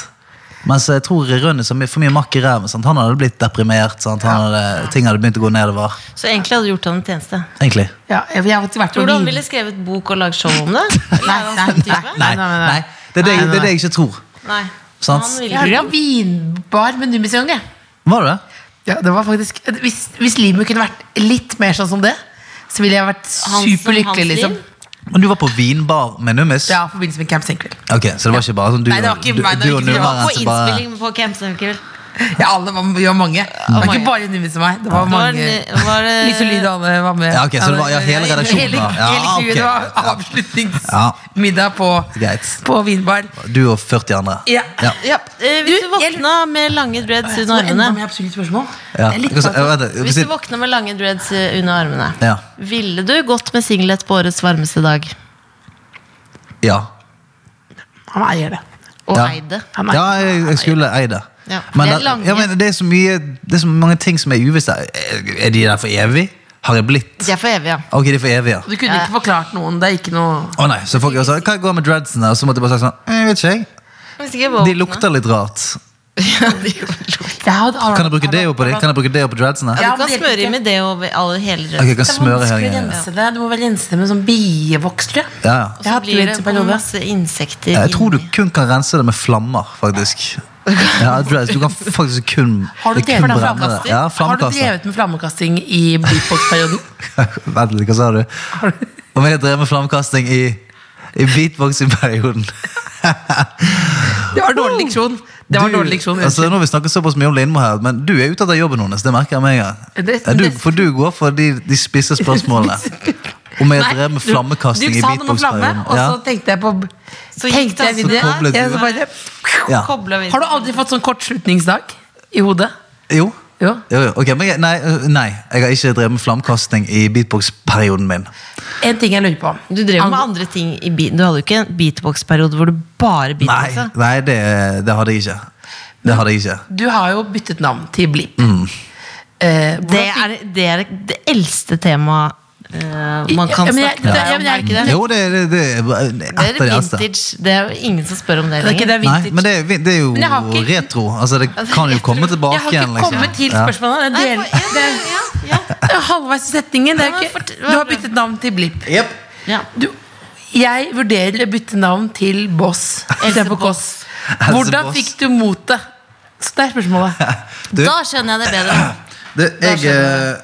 Mens jeg tror Rønnes har my- for mye makk i ræven sant? Han hadde blitt deprimert sant? Han hadde, Ting hadde begynt å gå nedover Så egentlig hadde du gjort han en tjeneste. Egentlig Ja, jeg, jeg har vært på Tror du han vin- ville skrevet bok og lagd show om det? [LAUGHS] Eller Nei, er han nei, nei, sånn type? nei, Nei, nei, nei, nei. Det, er det, Nei, jeg- nei, det er det jeg ikke tror Nei. Sant. Han Jeg har ville vært på vinbar med Nummisjong, jeg. Var det det? Ja, det var faktisk Hvis, hvis livet mitt kunne vært litt mer sånn som det, så ville jeg vært som superlykkelig, hans liv? liksom. Men du var på vinbar med Nummis? Ja, i forbindelse med Camp Senkveld. Ok, Så det var ikke bare sånn du Nei, det var ikke du- meg, det du var og ikke- det var på nummeren som altså bare innspilling på Camp Sunkild. Ja, alle var, vi var mange. Det var mange. ikke bare Nummis og meg. Det var Var, eh, mange. var det Lise Lyd og alle var med. Ja, ok, så det var- ja, hele redaksjonen Hele, var- ja, hele crewet. ok. Det Ja. var avslutningsmiddag på, Greit. på vinbar. Du og 40 andre. Ja. Ja. ja. Eh, Hvis du Du, jeg- våkna med lange dreads Så under det er enda armene mer absurd spørsmål. Ja. Jeg Jeg likte kan- jeg at- vet det, Hvis hvis du jeg- våkna med lange dreads eh, under armene, Ja. ville du gått med singlet på årets varmeste dag? ja. Han eier det. Og Ja. eide? Han ja, jeg, jeg skulle eid det. Ja. Men, Det er det, lange. ja, men det, er så mye, det er så mange ting som er uvisst. her. Er de der for evig? Har jeg blitt? De er for evig, ja. Ok, de er for evig, ja. Du kunne Ja. ikke forklart noen. Det er ikke noe Å nei, så folk også, Hva går med dreadsene? Og så måtte jeg bare si sånn Jeg vet «Eh, ikke, jeg. Hvis ikke våkna. De lukter litt rart. Ja, de gjorde det. Jeg hadde aldri- Kan jeg bruke deo på de? Kan jeg bruke deo på dreadsene? Ja, Ja, du kan men det smøre hjelper i med det over alle hele Ok, jeg røret. kan Det er smøre hele vanskelig å greia. rense det. Du må vel rense det med sånn bievoks, tror jeg. Ja, ja. Og Jeg så har hatt blir dreads i det perioden. masse insekter Jeg tror du inni. kun kan rense det med flammer, faktisk. Ja, dreads, du kan faktisk kun Har du det er drevet med kun brenne det. flammekaster? Ja, Har du flammekaster. drevet med flammekasting i beatbox-perioden? [LAUGHS] Vent litt, hva sa du? Om jeg drev med flammekasting i, i beatboxing-perioden? [LAUGHS] Det var dårlig leksjon. Det var Du- dårlig leksjon. Altså, nå har vi snakket såpass mye om Lindmo her, men du er ute av jobben hennes. Det merker jeg med en gang. Det- Ja, Du, det- for du går for de, [LAUGHS] de spisse spørsmålene. Om jeg Nei, drev med du- flammekasting du i sa noe om flamme, beatbox-perioden. Og Ja. så tenkte jeg på Så tenkte gikk det jeg altså- videre. Så koblet Jeg du. så bare, Ja. Koblet vi- Har du aldri fått sånn kortslutningsdag i hodet? Jo. Jo. Jo, jo. Ok, men jeg, nei, øh, nei, jeg har ikke drevet med flammekasting i beatbox-perioden min. En ting jeg lurer på. Du drev med andre ting i bi- Du hadde jo ikke en beatbox-periode hvor du bare Nei, beatboxa. nei det, det hadde jeg ikke. Det hadde jeg ikke. Du har jo byttet navn til Blipp. Mm. Eh, hvordan Det fikk- er det, er det eldste temaet eh, man kan Ja, men jeg- snakke om. det- ja, men jeg- er det ikke det? Jo, det, det, det, det Det er det eneste. vintage. Det er jo ingen som spør om Det det er ikke lenger. det Nei, vintage. men det, er vin- det er jo Men jeg har ikke- retro. Altså, det kan jo komme [LAUGHS] tilbake jeg har igjen. liksom. ikke kommet til Ja. spørsmålet. Det Nei, er, for- del, ja, det det- ja, ja. er halvveis i setningen. Det er jo Ja, men ikke, fort- du har byttet navn til Blipp. Jep. Ja. Du, jeg vurderer å bytte navn til Boss istedenfor Kåss. Else Hvordan Boss. fikk du mot det? Så det er [LAUGHS] spørsmålet. [LAUGHS] Du, Da skjønner jeg det bedre. det, jeg, skjønner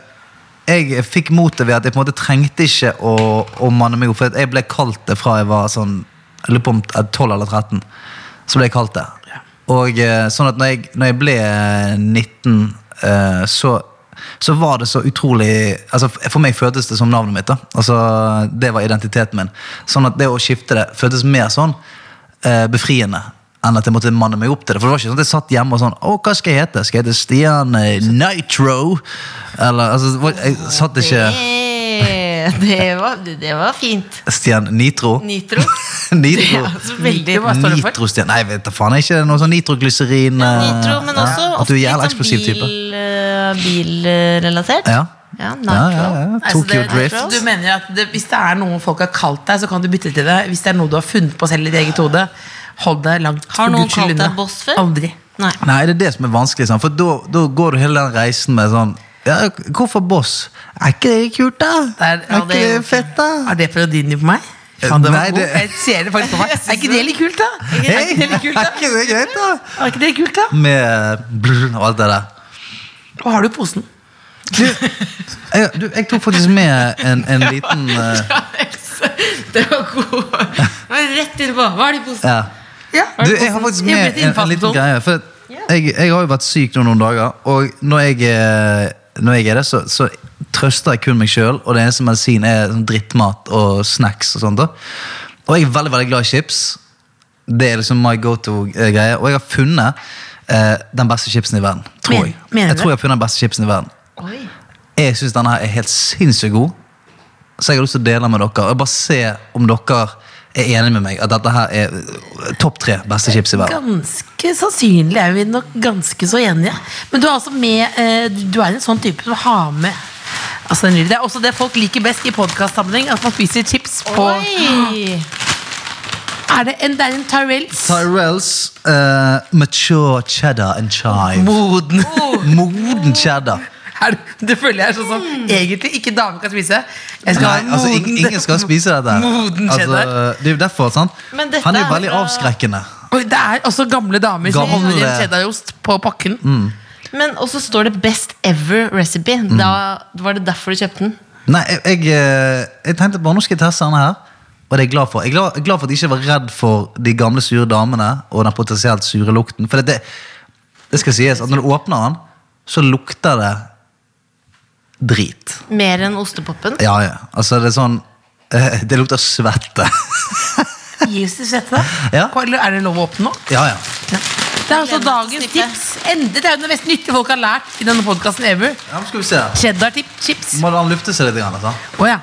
eh, jeg fikk motet ved at jeg på en måte trengte ikke å, å manne meg opp. For at jeg ble kalt det fra jeg var sånn jeg lurer på om jeg er 12 eller 13. Så ble jeg kalt det. Og eh, sånn at når jeg, når jeg ble eh, 19, eh, så, så var det så utrolig altså f- For meg føltes det som navnet mitt. da altså Det var identiteten min. Sånn at det å skifte det føltes mer sånn eh, befriende enn at jeg måtte manne meg opp til det. For det var ikke sånn at jeg satt hjemme og sånn Å, hva skal jeg hete? Skal jeg hete Stian eh, Nitro? Eller altså det var- Jeg satt [CLEARS THROAT] ikke Eh, Det var, det var fint. Stian Nitro. [LAUGHS] Nitro. Det er Nitro. altså veldig Nitro, hva står det for? Nitrostian Nei, vet da faen. Er ikke det noe sånn nitroglyserin Ja, eh, Nitro, men ja, også At du ofte er litt jævla sånn eksplosiv type. bil, eh, Bilrelatert. Ja. Ja, Ja, ja, ja. Altså, Tokyo det- Drift. så Du mener at det, Hvis det er noe folk har kalt deg, så kan du bytte til det. Hvis det er noe du har funnet på selv i ditt eget hode, hold deg langt Har for noen Guds skyld kalt deg unna. boss før? Aldri. Nei. Nei, det er det som er vanskelig. sant? For da da går du hele den reisen med sånn ja, Hvorfor boss? Er ikke det kult, da? Det er- ja, er ikke det det- fett, da? Er det parodien din på meg? Eh, Faen, det var nei, god. det- [LAUGHS] Jeg ser det faktisk på meg. Er ikke det litt kult, da? Er Hei, ikke det litt kult, da? [LAUGHS] Er ikke det greit, da? Er ikke det kult, da? Med brr og alt det der. Og har du posen? Jeg, du, jeg tok faktisk med en, en liten eh, Det var god. Det var Rett innpå. Hva er det i posen? ja. Ja. Du, jeg har faktisk Jeg ble til med en, en liten innfallsmetoden. greie. For at jeg, jeg har jo vært syk nå noen dager, og når jeg, eh, når jeg er det, så, så trøster jeg kun meg sjøl, og det eneste medisin er sånn drittmat og snacks og sånt. da. Og jeg er veldig, veldig glad i chips. Det er liksom my go to-greie. Og jeg har funnet eh, den beste chipsen i verden. Tror Men- jeg. mener Jeg du? tror jeg har funnet den beste chipsen i verden. Oi. Jeg syns denne her er helt sinnssykt god. Så jeg har lyst til å dele den med dere. Og bare se om dere er enige med meg at dette her er øh, topp tre beste chips i verden. Ganske sannsynlig er vi nok ganske så enige. Men du er altså med eh, Du er en sånn type som har med altså, den lyden. Det er også det folk liker best i podkastsammenheng, at man spiser chips på Oi. Er det en, det er en Tyrells? Tyrells eh, mature cheddar and chive. Moden. Moden cheddar. [LAUGHS] Er det, det føler jeg er sånn som egentlig ikke damer kan spise. Jeg skal Nei, ha en altså, ingen, moden- ingen skal spise dette. [LAUGHS] Moden Altså, cheddar. det er jo derfor, sant? Men dette Han er er jo veldig fra- avskrekkende. Oi, det er også gamle damer som Gamle. Mm. holder en cheddarost på pakken. Men også står det 'Best ever recipe'. Da var det derfor du kjøpte den. Nei, jeg, jeg, eh, jeg tenkte bare nå skal jeg teste denne her. Og det er jeg glad for. Jeg er glad, jeg er glad for at jeg ikke var redd for de gamle sure damene og den potensielt sure lukten. For det, det, det skal sies at når du åpner den, så lukter det drit. Mer enn ostepopen. Ja, ja. Altså, det er sånn [LAUGHS] eh, Det lukter svette. Gis det svette, da? [LAUGHS] Ja. Hva- eller Er det lov å åpne nå? ja, ja. Det er altså dagens tips. Enda, det er jo det mest nyttige folk har lært i denne podkasten ever. ja men skal vi se. Cheddar-chips. Må la den lufte seg litt. Grann, sant? Å ja.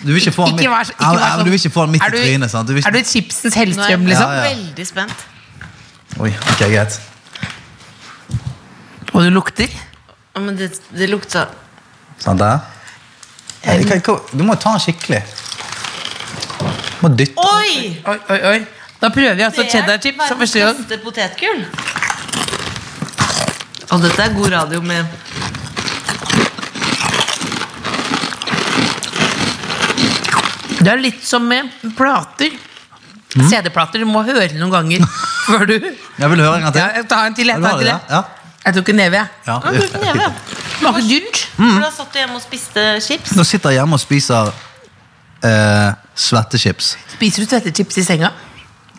Du vil ikke få den midt, Ikke vær så- ikke Ja, vær ja, men du vil ikke få den midt Er i du- trynet. sant? Du vil Er du ikke... et chipsens Nå er jeg Hellstrøm, liksom? Ja, ja. veldig spent. Oi, ok, greit. Og du lukter? Å, Men det, det lukta Sånn der. Nei, jeg kan ikke- Du må ta den skikkelig. Du må dytte Oi! Oi, oi, oi. Da prøver vi altså cheddar-chips for første gang. kaste potetgull. Og dette er god radio med Det er litt som med plater. Mm. CD-plater. Du må høre noen [LAUGHS] ganger før du Jeg vil høre en gang til. ja, jeg tar en til. Jeg, Har tar en du til, det? jeg. jeg tok en neve, jeg. Ja. Mm. Ja, du får neve. Smaker dyrt. For da satt du hjemme og spiste chips. [LAUGHS] Nå sitter jeg hjemme og spiser eh, svettechips. Spiser du svettechips i senga?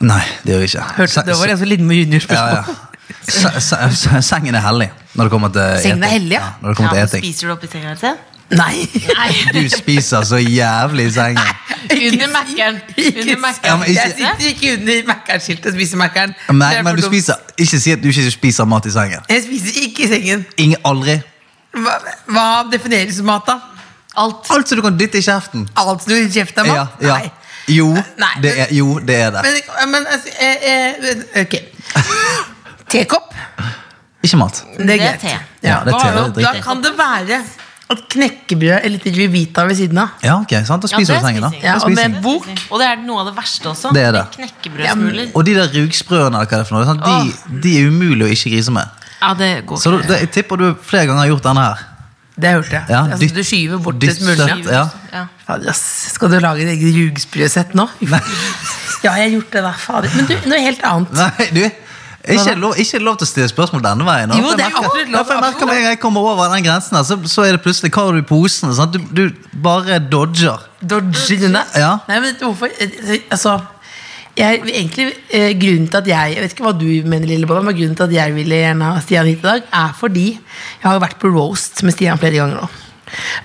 Nei, det gjør jeg ikke. Hørte Se- du, det var en sånn Lindmo ja, Junior-spørsmål. ja. Se- se- se- Sengen er hellig når det kommer til Sengen er eting. hellig, ja. når det kommer Ja, til men eting. Spiser du opp i senga til? Nei! Du spiser så jævlig i sengen. Under [LAUGHS] Mac-en. Under Ja, Mac-en. men ikke- Jeg sitter ikke under Mækkern-skiltet og spiser Mækkern. Det Men, er men for du dumt. spiser, ikke si at du ikke spiser mat i sengen. Jeg spiser ikke i sengen. Ingen, aldri. Hva, hva defineres som mat, da? Alt. Alt som du kan dytte i kjeften. Alt du kjefter Ja, mat? ja. Nei. Jo, Nei, det er, jo, det er det. Men, men altså eh, eh, [LAUGHS] Ok. Tekopp, Ikke mat. det er Det er greit. te. Ja, det er te, hva- det er da dritt. kan det være at knekkebrød eller til Revita ved siden av. Ja, ok, sant? Da Ja, spiser det du i sengen, da. spiser jeg. Ja, Da og med spiser en jeg. bok. Og det er noe av det verste også. Det er det. Knekkebrødsmuler. Og de der rugsprøene, eller hva det er for noe, sant? De, de er umulig å ikke grise med. Ja, det går Så du, det, jeg tipper du flere ganger har gjort denne her. [LAUGHS] Det hørte jeg. Ja, altså, dytt- du skyver bort det dytt smulene. søtt, ja. Ja. Fader, ass. Skal du lage et eget rugsprøsett nå? [LAUGHS] ja, jeg har gjort det, da. Fader. Men du, noe helt annet. Nei, du, ikke lov, ikke lov til å stille spørsmål denne veien. Jo, det er jeg merker, absolutt lov. Ja, for jeg merker med en gang jeg kommer over den grensen, her, så, så er det plutselig hva har du i posen? Sant? Du, du bare dodger. Dodge denne? Ja. Nei, men hvorfor Altså jeg, egentlig eh, Grunnen til at jeg Jeg vet ikke hva du mener, Lillebolla, men grunnen til at jeg ville gjerne ha Stian hit i dag, er fordi jeg har vært på roast med Stian flere ganger nå.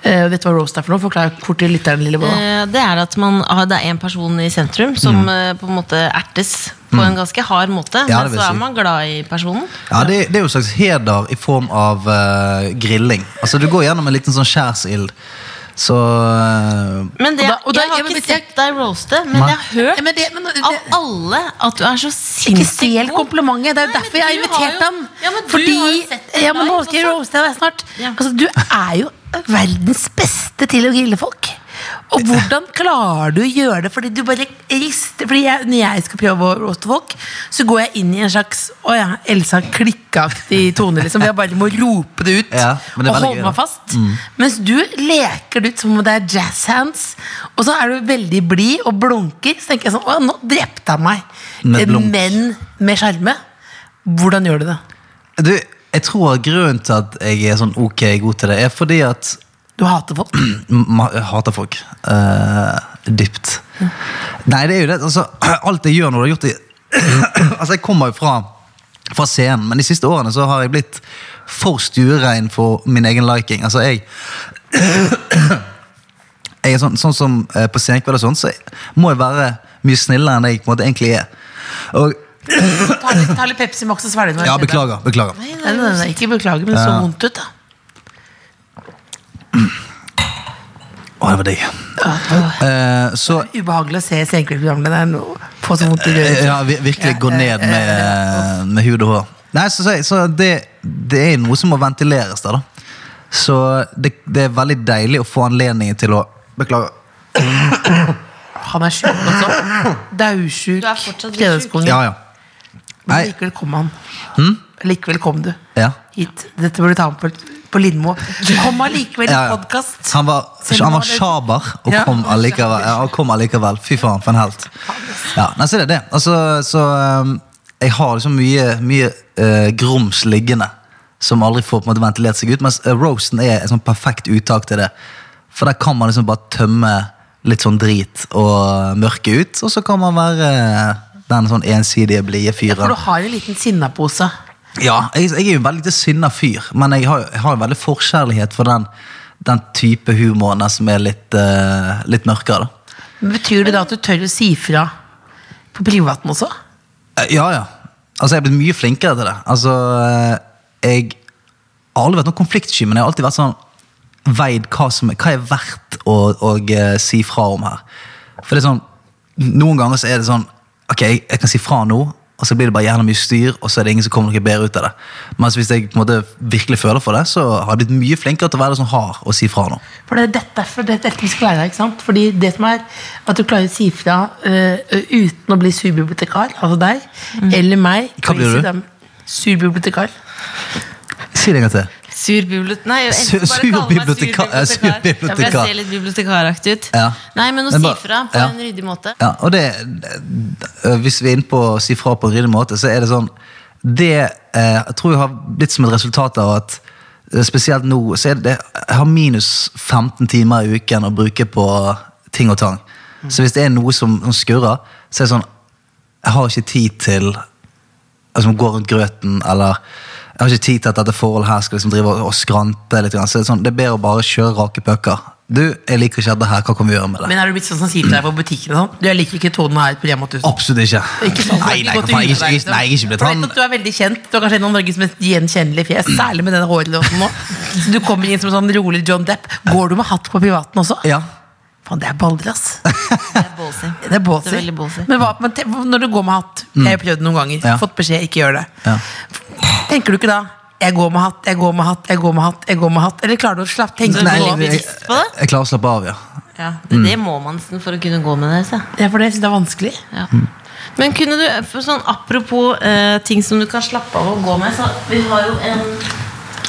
Eh, vet du hva roast er for noe? Forklar kort til lytteren, Lillebolla. Eh, Det er at man har, det er en person i sentrum som eh, på en måte ertes på en ganske hard måte. Mm. Ja, men det vil så si. er man glad i personen. Ja, det, det er jo en slags heder i form av eh, grilling. Altså, du går gjennom en liten sånn skjærsild. Så eh, Men det, Og da- og da- Jeg har ja, men ikke vet jeg- sett deg roaste, men Nei. jeg har hørt Ja, men det- men det- av alle at du er så Ikke sinnssykt stjel god. komplimentet! Det er jo Nei, derfor jeg men har du har invitert jo- ham. Ja, men du Fordi har jo sett det Ja, men nå live skal jeg også. roaste deg snart. Ja. Altså, du er jo verdens beste til å grille folk. Og hvordan klarer du å gjøre det? Fordi du bare rister Fordi jeg, Når jeg skal prøve å roaste folk, så går jeg inn i en slags Å ja, Elsa Klikke-aktig tone. Liksom. Jeg bare må rope det ut Ja, men det er og veldig gøy, holde da. meg fast. Mens du leker det ut som om det er jazz hands, og så er du veldig blid og blunker. Så tenker jeg sånn Å, nå drepte han meg. Med Eh, blunk. Men med sjarme. Hvordan gjør du det? du, jeg tror grunnen til at jeg er sånn ok god til det, er fordi at Du hater folk. Ma- Jeg hater folk. Eh, dypt. Nei, det er jo det. Altså, alt jeg gjør når jeg har gjort det [CLEARS THROAT] Altså, jeg kommer jo fra, fra scenen, men de siste årene så har jeg blitt for stuerein for min egen liking. Altså, jeg [CLEARS THROAT] jeg er sånn, sånn som eh, på scenekveld og sånn, så må jeg være mye snillere enn jeg på en måte egentlig er. Og, Ta litt, ta litt Pepsi Max og svelg den. ja, beklager. beklager. Nei, nei, nei, ikke beklager, men det så vondt ut, da. Å, det var digg. Eh, så Ubehagelig å se senkveldprogrammet der få så vondt i Eh, røret. Ja, vir- virkelig gå ned med, eh, med hud og hår. Nei, så, så, så det, det er noe som må ventileres der, da. Så det, det er veldig deilig å få anledningen til å Beklager. Han er sjuk også. Daudsjuk. Du er fortsatt litt Fredagskongen. Ja, ja. Nei, Men Hm? likevel kom han. Likevel kom du ja. hit. Dette burde du ta med på, på Lindmo. Kom allikevel i Ja, ja. podkast. Han var, Selv om han var han er- sjaber og Ja. kom allikevel. Ja, og kom allikevel. Fy faen, for en helt. Ja, nei, så det er det. Altså, så um, jeg har liksom mye, mye eh, grums liggende som aldri får på en måte ventilert seg ut, mens eh, roasten er et sånn perfekt uttak til det. For der kan man liksom bare tømme litt sånn drit og mørke ut, og så kan man være eh, den sånn ensidige, blide For fyren. du har en liten sinnapose. Ja, jeg, jeg er jo en veldig sinna fyr, men jeg har, jeg har en veldig forkjærlighet for den, den type humor da, som er litt, eh, litt mørkere. da. Men Betyr det da at du tør å si fra på privaten også? Eh, Ja, ja. Altså, jeg er blitt mye flinkere til det. Altså, eh, jeg har aldri vært noen konfliktsky, men jeg har alltid vært sånn veid hva som hva er verdt å, å eh, si fra om her. For det er sånn, noen ganger så er det sånn, ok, jeg, jeg kan si fra nå, og så blir det bare gjerne mye styr, og så er det ingen som kommer noe bedre ut av det. Mens hvis jeg på en måte virkelig føler for det, så har jeg blitt mye flinkere til å være sånn hard og si fra nå. For det er dette, for det er dette vi skal lære deg. ikke sant? Fordi det som er at du klarer å si fra øh, øh, uten å bli surbibliotekar, altså deg, eller meg Mm. Hva blir crazy du? dame. Surbibliotekar. Si det en gang til. Sur bibliot... Nei, jeg Sur- elsker bare å kalle meg surbiblioteka- ja, sur bibliotekar. Ja, for jeg surbibliotekar. ser litt bibliotekaraktig ut. Ja. Nei, men å Men si bare- fra på ja. en ryddig måte. Ja, og det, eh, hvis vi er inne på å si fra på en ryddig måte, så er det sånn Det eh, jeg tror jeg har blitt som et resultat av at eh, spesielt nå så er det, Jeg har minus 15 timer i uken å bruke på ting og tang. Så hvis det er noe som, som skurrer, så er det sånn Jeg har ikke tid til altså, Gå rundt grøten, eller jeg har ikke tid til at dette forholdet her skal liksom drive og- og skrante. litt grann. Så det er, sånn, det er bedre å bare kjøre rake pucker. Du, jeg liker ikke dette her, hva kan vi gjøre med det? Men er du blitt sånn som sier til deg på butikken og sånn? Du, jeg liker ikke tonen her på Rema 1000. Absolutt ikke. Ikke sant? Nei, nei, for faen, jeg, er ikke- jeg, er- nei, jeg er ikke blitt For jeg han. vet at Du er veldig kjent. Du er kanskje en av Norges mest gjenkjennelige fjes. Særlig med denne hårlåsen nå. Så du kommer inn som en sånn rolig John Depp. Går du med hatt på privaten også? Ja. Faen, det er baller, ass. Det er [LAUGHS] ballsy. Det er ballsy. Det er veldig ballsy. Men hva, men te- når du går med hatt Jeg har prøvd det noen ganger. Mm. Ja. Fått beskjed ikke gjør det. Ja. Tenker du ikke da jeg går med hatt, jeg går med hatt, jeg går med hatt, jeg går med hatt. Eller klarer du å slappe tenke Nei, på jeg- det? jeg, bevisst på det? jeg klarer å slappe av, ja. Ja, det- Mm. Det må man nesten for å kunne gå med det. Så. Ja, for det synes jeg er vanskelig. Ja. Mm. Men kunne du, for sånn apropos eh, ting som du kan slappe av og gå med, så vi har jo en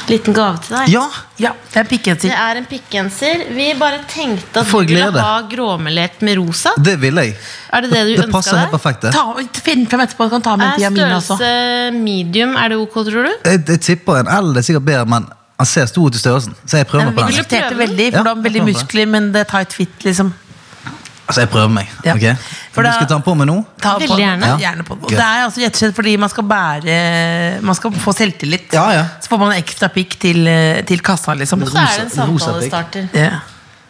liten gave til deg. Ja, Ja, det er pikkhenser. Det er en pikkgenser. Vi bare tenkte at For du ville glede. ha gråmelert med rosa. det vil jeg. Er det det du Det passer ønska helt deg? perfekt, det. Ta, finn frem etterpå, du kan ta med en Er til Jamina altså. også. størrelse medium, er det ok, tror du? Jeg, jeg tipper en L er sikkert bedre, men han ser stor ut i størrelsen. Så jeg prøver meg på Vi den. vil du- diskuterte prøve den? veldig, Ja, for du har veldig prøv det. muskler, men det er tight fit, liksom. Altså, jeg prøver meg. Ja. ok? For du da- skal ta den på meg nå? Ta Veldig på den. gjerne. Ja. Ja. gjerne på den. Og Gøy. det er altså rett og slett fordi man skal bære Man skal få selvtillit. Ja, ja. Så får man en ekstra pikk til, eh, til kassa, liksom. Så er det en Rosa- rosa pikk. samtalestarter. Ja,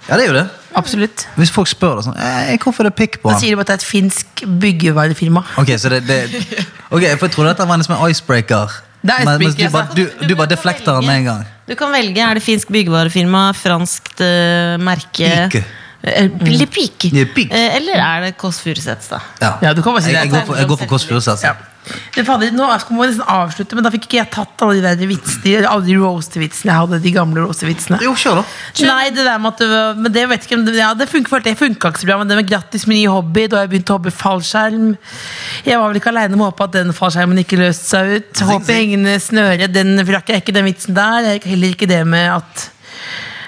Ja, det er jo det. absolutt. Hvis folk spør deg sånn eh, 'Hvorfor er det pikk Da på han?' sier de bare at det er et finsk byggevarefirma. Ok, så det, det Ok, for jeg trodde dette var en som en icebreaker. Det er Men- mens icebreaker, du, bare, altså. du, du bare kan deflekter den velge- med en gang. Du kan velge. Er det finsk byggevarefirma, franskt eh, merke Pike. Mm. Eh, Eller pike. Ja, pike. Eh, Eller er det Kåss Furuseths, da? Ja, du kan bare si jeg, det. jeg går for, jeg går for altså. Kåss Furuseth. Ja. Men fader, nå skal vi nesten avslutte, men da fikk ikke jeg tatt alle de der vitsene, alle de roast-vitsene jeg hadde. De gamle roast-vitsene. Jo, kjør, da. Nei, det der med at det var, men det vet ikke om det, ja, det funker, følte jeg funka ikke så bra. Men det med grattis med ny hobby, da jeg begynte å hoppe i fallskjerm. Jeg var vel ikke aleine med å håpe at den fallskjermen ikke løste seg ut. Håpe hengende snøre, den rakk jeg ikke den vitsen der. Jeg rakk Heller ikke det med at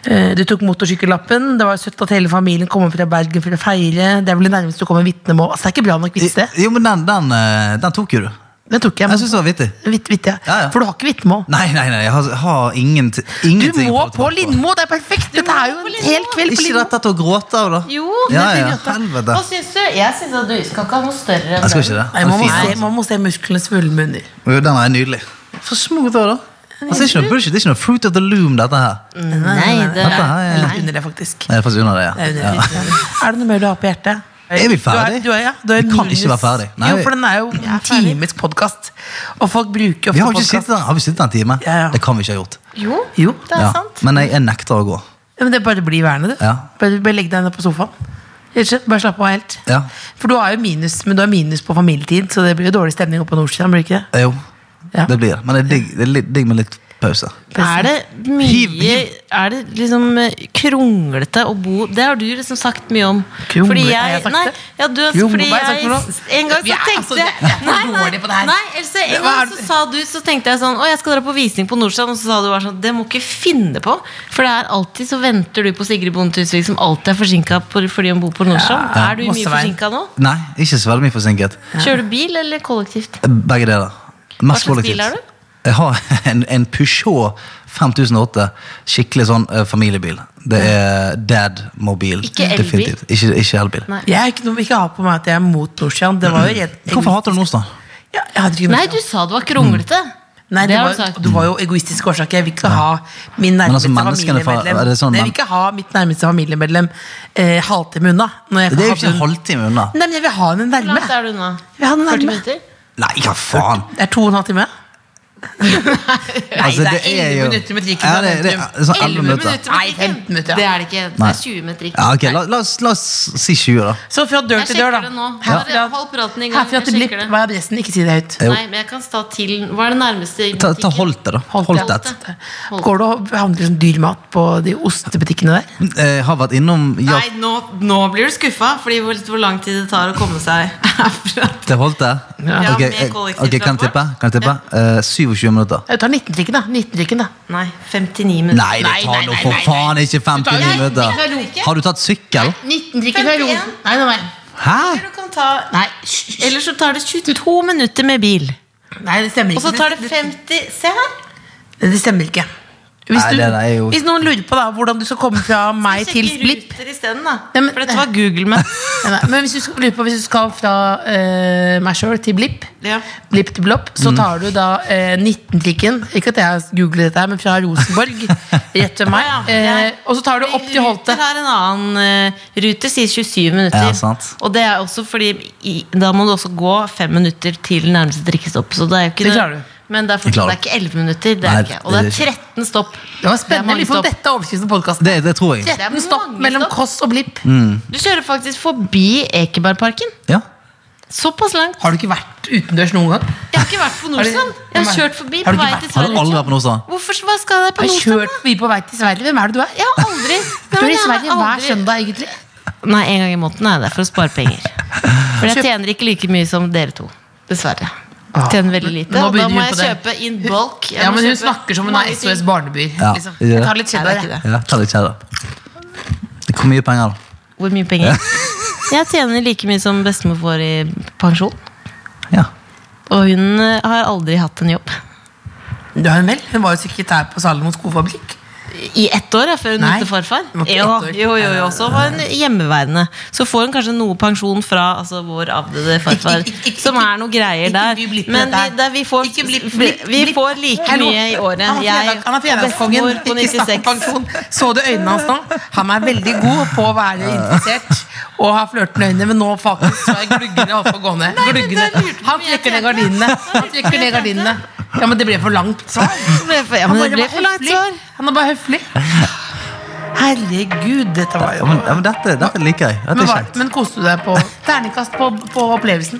eh, du tok motorsykkellappen. Det var søtt at hele familien kom opp fra Bergen for å feire. Det er vel det nærmeste du kommer vitnemål. Altså, det er ikke bra nok vits, det. Jo, men den, den, eh, den tok jo du. Den tok jeg. Jeg Men, syns det var vittig. vitt, vitt, ja. Ja, ja. For du har ikke vitnemål. Nei, nei, nei, jeg har, har ingen, Du ingenting må å ta på Lindmo! Det er perfekt! Dette er jo en hel kveld på Ikke Lindmo. dette til å gråte av, da. Jo, ja, det er ja, helvete. Hva syns du? Jeg syns at du skal ikke ha noe større enn Jeg skal ikke det. Nei, man, må Den er se, fin, man må se musklene svulme under. Jo, Den er nydelig. For smooth òg, da. Altså, det er ikke noe bullshit, det er ikke noe fruit of the loom, dette Mm. her. den. Nei, det Dette her Jeg er er Nei, litt under det, faktisk. det er faktisk under det, Jeg Er, ja. under det. er det noe mer du har på hjertet? Er vi ferdig? Du er, du er, ja, du er Vi kan minus- ikke være ferdig. Nei, jo, vi- for den er jo en times podkast. Og folk bruker ofte Vi har jo ikke podkast. sittet der- har vi sittet der en time. Ja, ja. Det kan vi ikke ha gjort. Jo, Jo. det er Ja. sant. Men jeg, jeg nekter å gå. Ja, men det bare blir værende, du. Ja. Bare, bare legg deg ned på sofaen. Rett og slett, Bare slapp av helt. Ja. For du har jo minus, men du har minus på familietid, så det blir jo dårlig stemning oppe på Nordstrand. blir det ikke det? Eh, Jo, Ja. det blir det. Men det er digg, det er litt- digg med litt pause. Er det Hiv, mye hiv. Er det liksom eh, kronglete å bo Det har du liksom sagt mye om. Kronglete, Fordi jeg, har jeg sagt nei, det? ja, du, Jo, fordi hva har jeg sagt jeg, for noe? en gang Vi så er- altså, tenkte jeg jeg er for Nei, nei, dårlig på det her. nei Else, en Hva er gang det- så sa du Så tenkte jeg sånn Å, jeg skal dra på visning på Nordstrand, og så sa du bare sånn Det må ikke finne på, for det er alltid så venter du på Sigrid Bonde Tusvik som alltid er forsinka fordi hun bor på Nordstrand. Ja, er du masse mye veien. forsinka nå? Nei, ikke så veldig mye forsinket. Kjører du bil eller kollektivt? Begge deler. Mest Hva slags bil kollektivt. har du? Jeg har [LAUGHS] en, en Peugeot 5008. Skikkelig sånn eh, familiebil. Det er dad-mobil. Ikke elbil? definitivt. Ikke, ikke elbil. Nei. Jeg er ikke noe vi ikke har på meg at jeg er mot Nordstrand. Det var jo rett, Hvorfor hater du Nordstrand? Ja, jeg hadde ikke noe- Nei, du sa det var kronglete. Nei, det det, har du var, sagt. det var jo egoistisk årsak. Jeg vil ikke ha min Men nærmeste altså, menneskene fra- familiemedlem er det sånn Jeg vil men- ikke ha mitt nærmeste familiemedlem eh, halvtime unna. Når jeg Det er jo ikke havner- en halvtime unna. Nei, men jeg vil ha henne Hvor langt nærme. er du unna? Jeg har den 40 nærme. minutter? Nei, hva faen? Det er to og en halv [LAUGHS] time. Nei, Altså, det er 11 minutter med trikken. Ja, det, det er sånn 11 11 minutter. minutter Nei, 15 minutter, ja. Det er det ikke. Det Nei. er 20 meter. Ikke. Ja, ok, la, la, oss, la oss si 20, da. Så fra dør Jeg til dør, sjekker da. det nå. Herfra, Bare Hold praten i gang. herfra til jeg Blipp sjekker det. var adressen. Ikke si det høyt. Jo. Nei, men jeg kan stå til Hva er det nærmeste i Ta, ta butikken? Holte, da. Holdt, ja. Holtet. Holdt. Går du og handler sånn dyr mat på de ostebutikkene der? Jeg Eh, har vært innom ja, Nei, nå, nå blir du skuffa, Fordi hvor, hvor lang tid det tar å komme seg [LAUGHS] herfra. til Holte. Ja, Ok, med eh, kollektivtransport. ok, kan jeg tippe? Kan jeg tippe? Eh, 7,5 27 minutter. Jeg tar 19-trikken, da. 19-trikken da Nei, 59 minutter. Nei, det Nei, tar nei, nå nei, for nei, faen ikke tar- 59 Nei, minutter. det tar ikke. Har du tatt sykkel? 19-trikken fra Rosen. Nei, nei, nei. Hæ? Du kan ta Nei, hysj, hysj. Eller så tar det 22 minutter med bil. nei, det stemmer Og ikke. så tar det 50 Se her! Det stemmer ikke. Hvis, Nei, du, det der er jo- hvis noen lurer på da hvordan du skal komme fra meg til Sjekke Blipp ruter isteden, da. Nei, men- For dette var Google Maps. Nei, nei, Men hvis du skal, lurer på hvis du skal fra eh, meg sjøl til Blipp, Ja. Blipp til Blopp, Mm. så tar du da eh, 19-trikken. Ikke at jeg har googlet dette, her, men fra [LAUGHS] Rosenborg rett ved meg. Ja, ja. eh, og så tar du opp til Holte. Ruter har en annen eh, Ruter sier 27 minutter. Ja, sant. Og det er også fordi i, da må du også gå fem minutter til nærmeste drikkestopp. Så det er jo ikke Det klarer du. Men det er, Det fortsatt, det klarer du. er ikke 11 minutter. Det Nei, er det ikke. Og det det er 13 stopp. Det var Det er spennende. mange Litt for stopp. dette er overskriften på podkasten. Det, det tror jeg. 13 mange stopp mellom stopp. Koss og Blipp. Mm. Du kjører faktisk forbi Ekebergparken. Ja. Såpass langt. Har du ikke vært utendørs noen gang? Jeg har ikke vært [LAUGHS] på Har du- Nordstrand. Jeg har kjørt forbi Har på du ikke vei vært- til Har du aldri Sverige. vært på Nordstrand? Hvorfor hva skal jeg på Har du Nordstrand? kjørt forbi på vei til Sverige? Hvem er det du er? Jeg har aldri Du Nei, er i men jeg har Sverige hver aldri- søndag, egentlig. Nei, en gang i måneden er det for å spare penger. For jeg tjener ikke like mye som dere to. Dessverre. Ah. Tjener veldig lite. Nå Og da begynner må hun jeg på kjøpe in bulk. Jeg Ja, må men Hun kjøpe snakker som hun mange er SOS ting. Barneby. Ja, Liksom. gjør Jeg det. tar litt Nei, det er cheddar. ikke det. Ja, ta litt kjære. Hvor mye penger, da? Hvor mye penger? Jeg tjener like mye som bestemor får i pensjon. Ja. Og hun eh, har aldri hatt en jobb. Du har hun vel? Hun var jo sekretær på Salomon skofabrikk. I ett år, ja, før hun Nei, møtte farfar. det var ikke Jo, ett år. jo, jo, jo, så var hun hjemmeværende. Så får hun kanskje noe pensjon fra altså, vår avdøde farfar, Ikke- ikke- [LAUGHS] ikke- som er noe greier ikke der. bli blipp med Men vi, dette her. der, vi, får, Ikke blipp, blipp, vi blipp. får like Hallo. mye i året. Han er fredag- Han er fredagskongen. bestemor på Ikke snakk 96. om pensjon. Så du øynene hans nå? Han er veldig god på å være interessert og ha flørtende øyne, men nå faktisk så er gluggene oppe og gående. Gluggene. Han trekker ned gardinene. Han trekker ned gardinene. Ja, men det ble for langt svar. [LAUGHS] Ja, Han men bare det ble var for langt høflig. svar. Han er bare høflig. [LAUGHS] Herregud, dette var Ja, jo men, ja, men dette, dette liker jeg. Dette Men, er hva- kjekt. [LAUGHS] men koste du deg på terningkast på, på opplevelsen?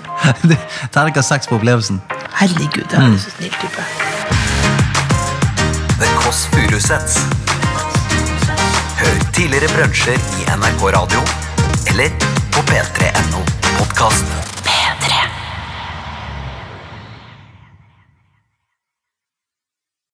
Terningkast seks på opplevelsen. Herregud, jeg Mm. er så snill type. The Kåss Furuseths. Hør tidligere brunsjer i NRK Radio eller på p3.no podkast.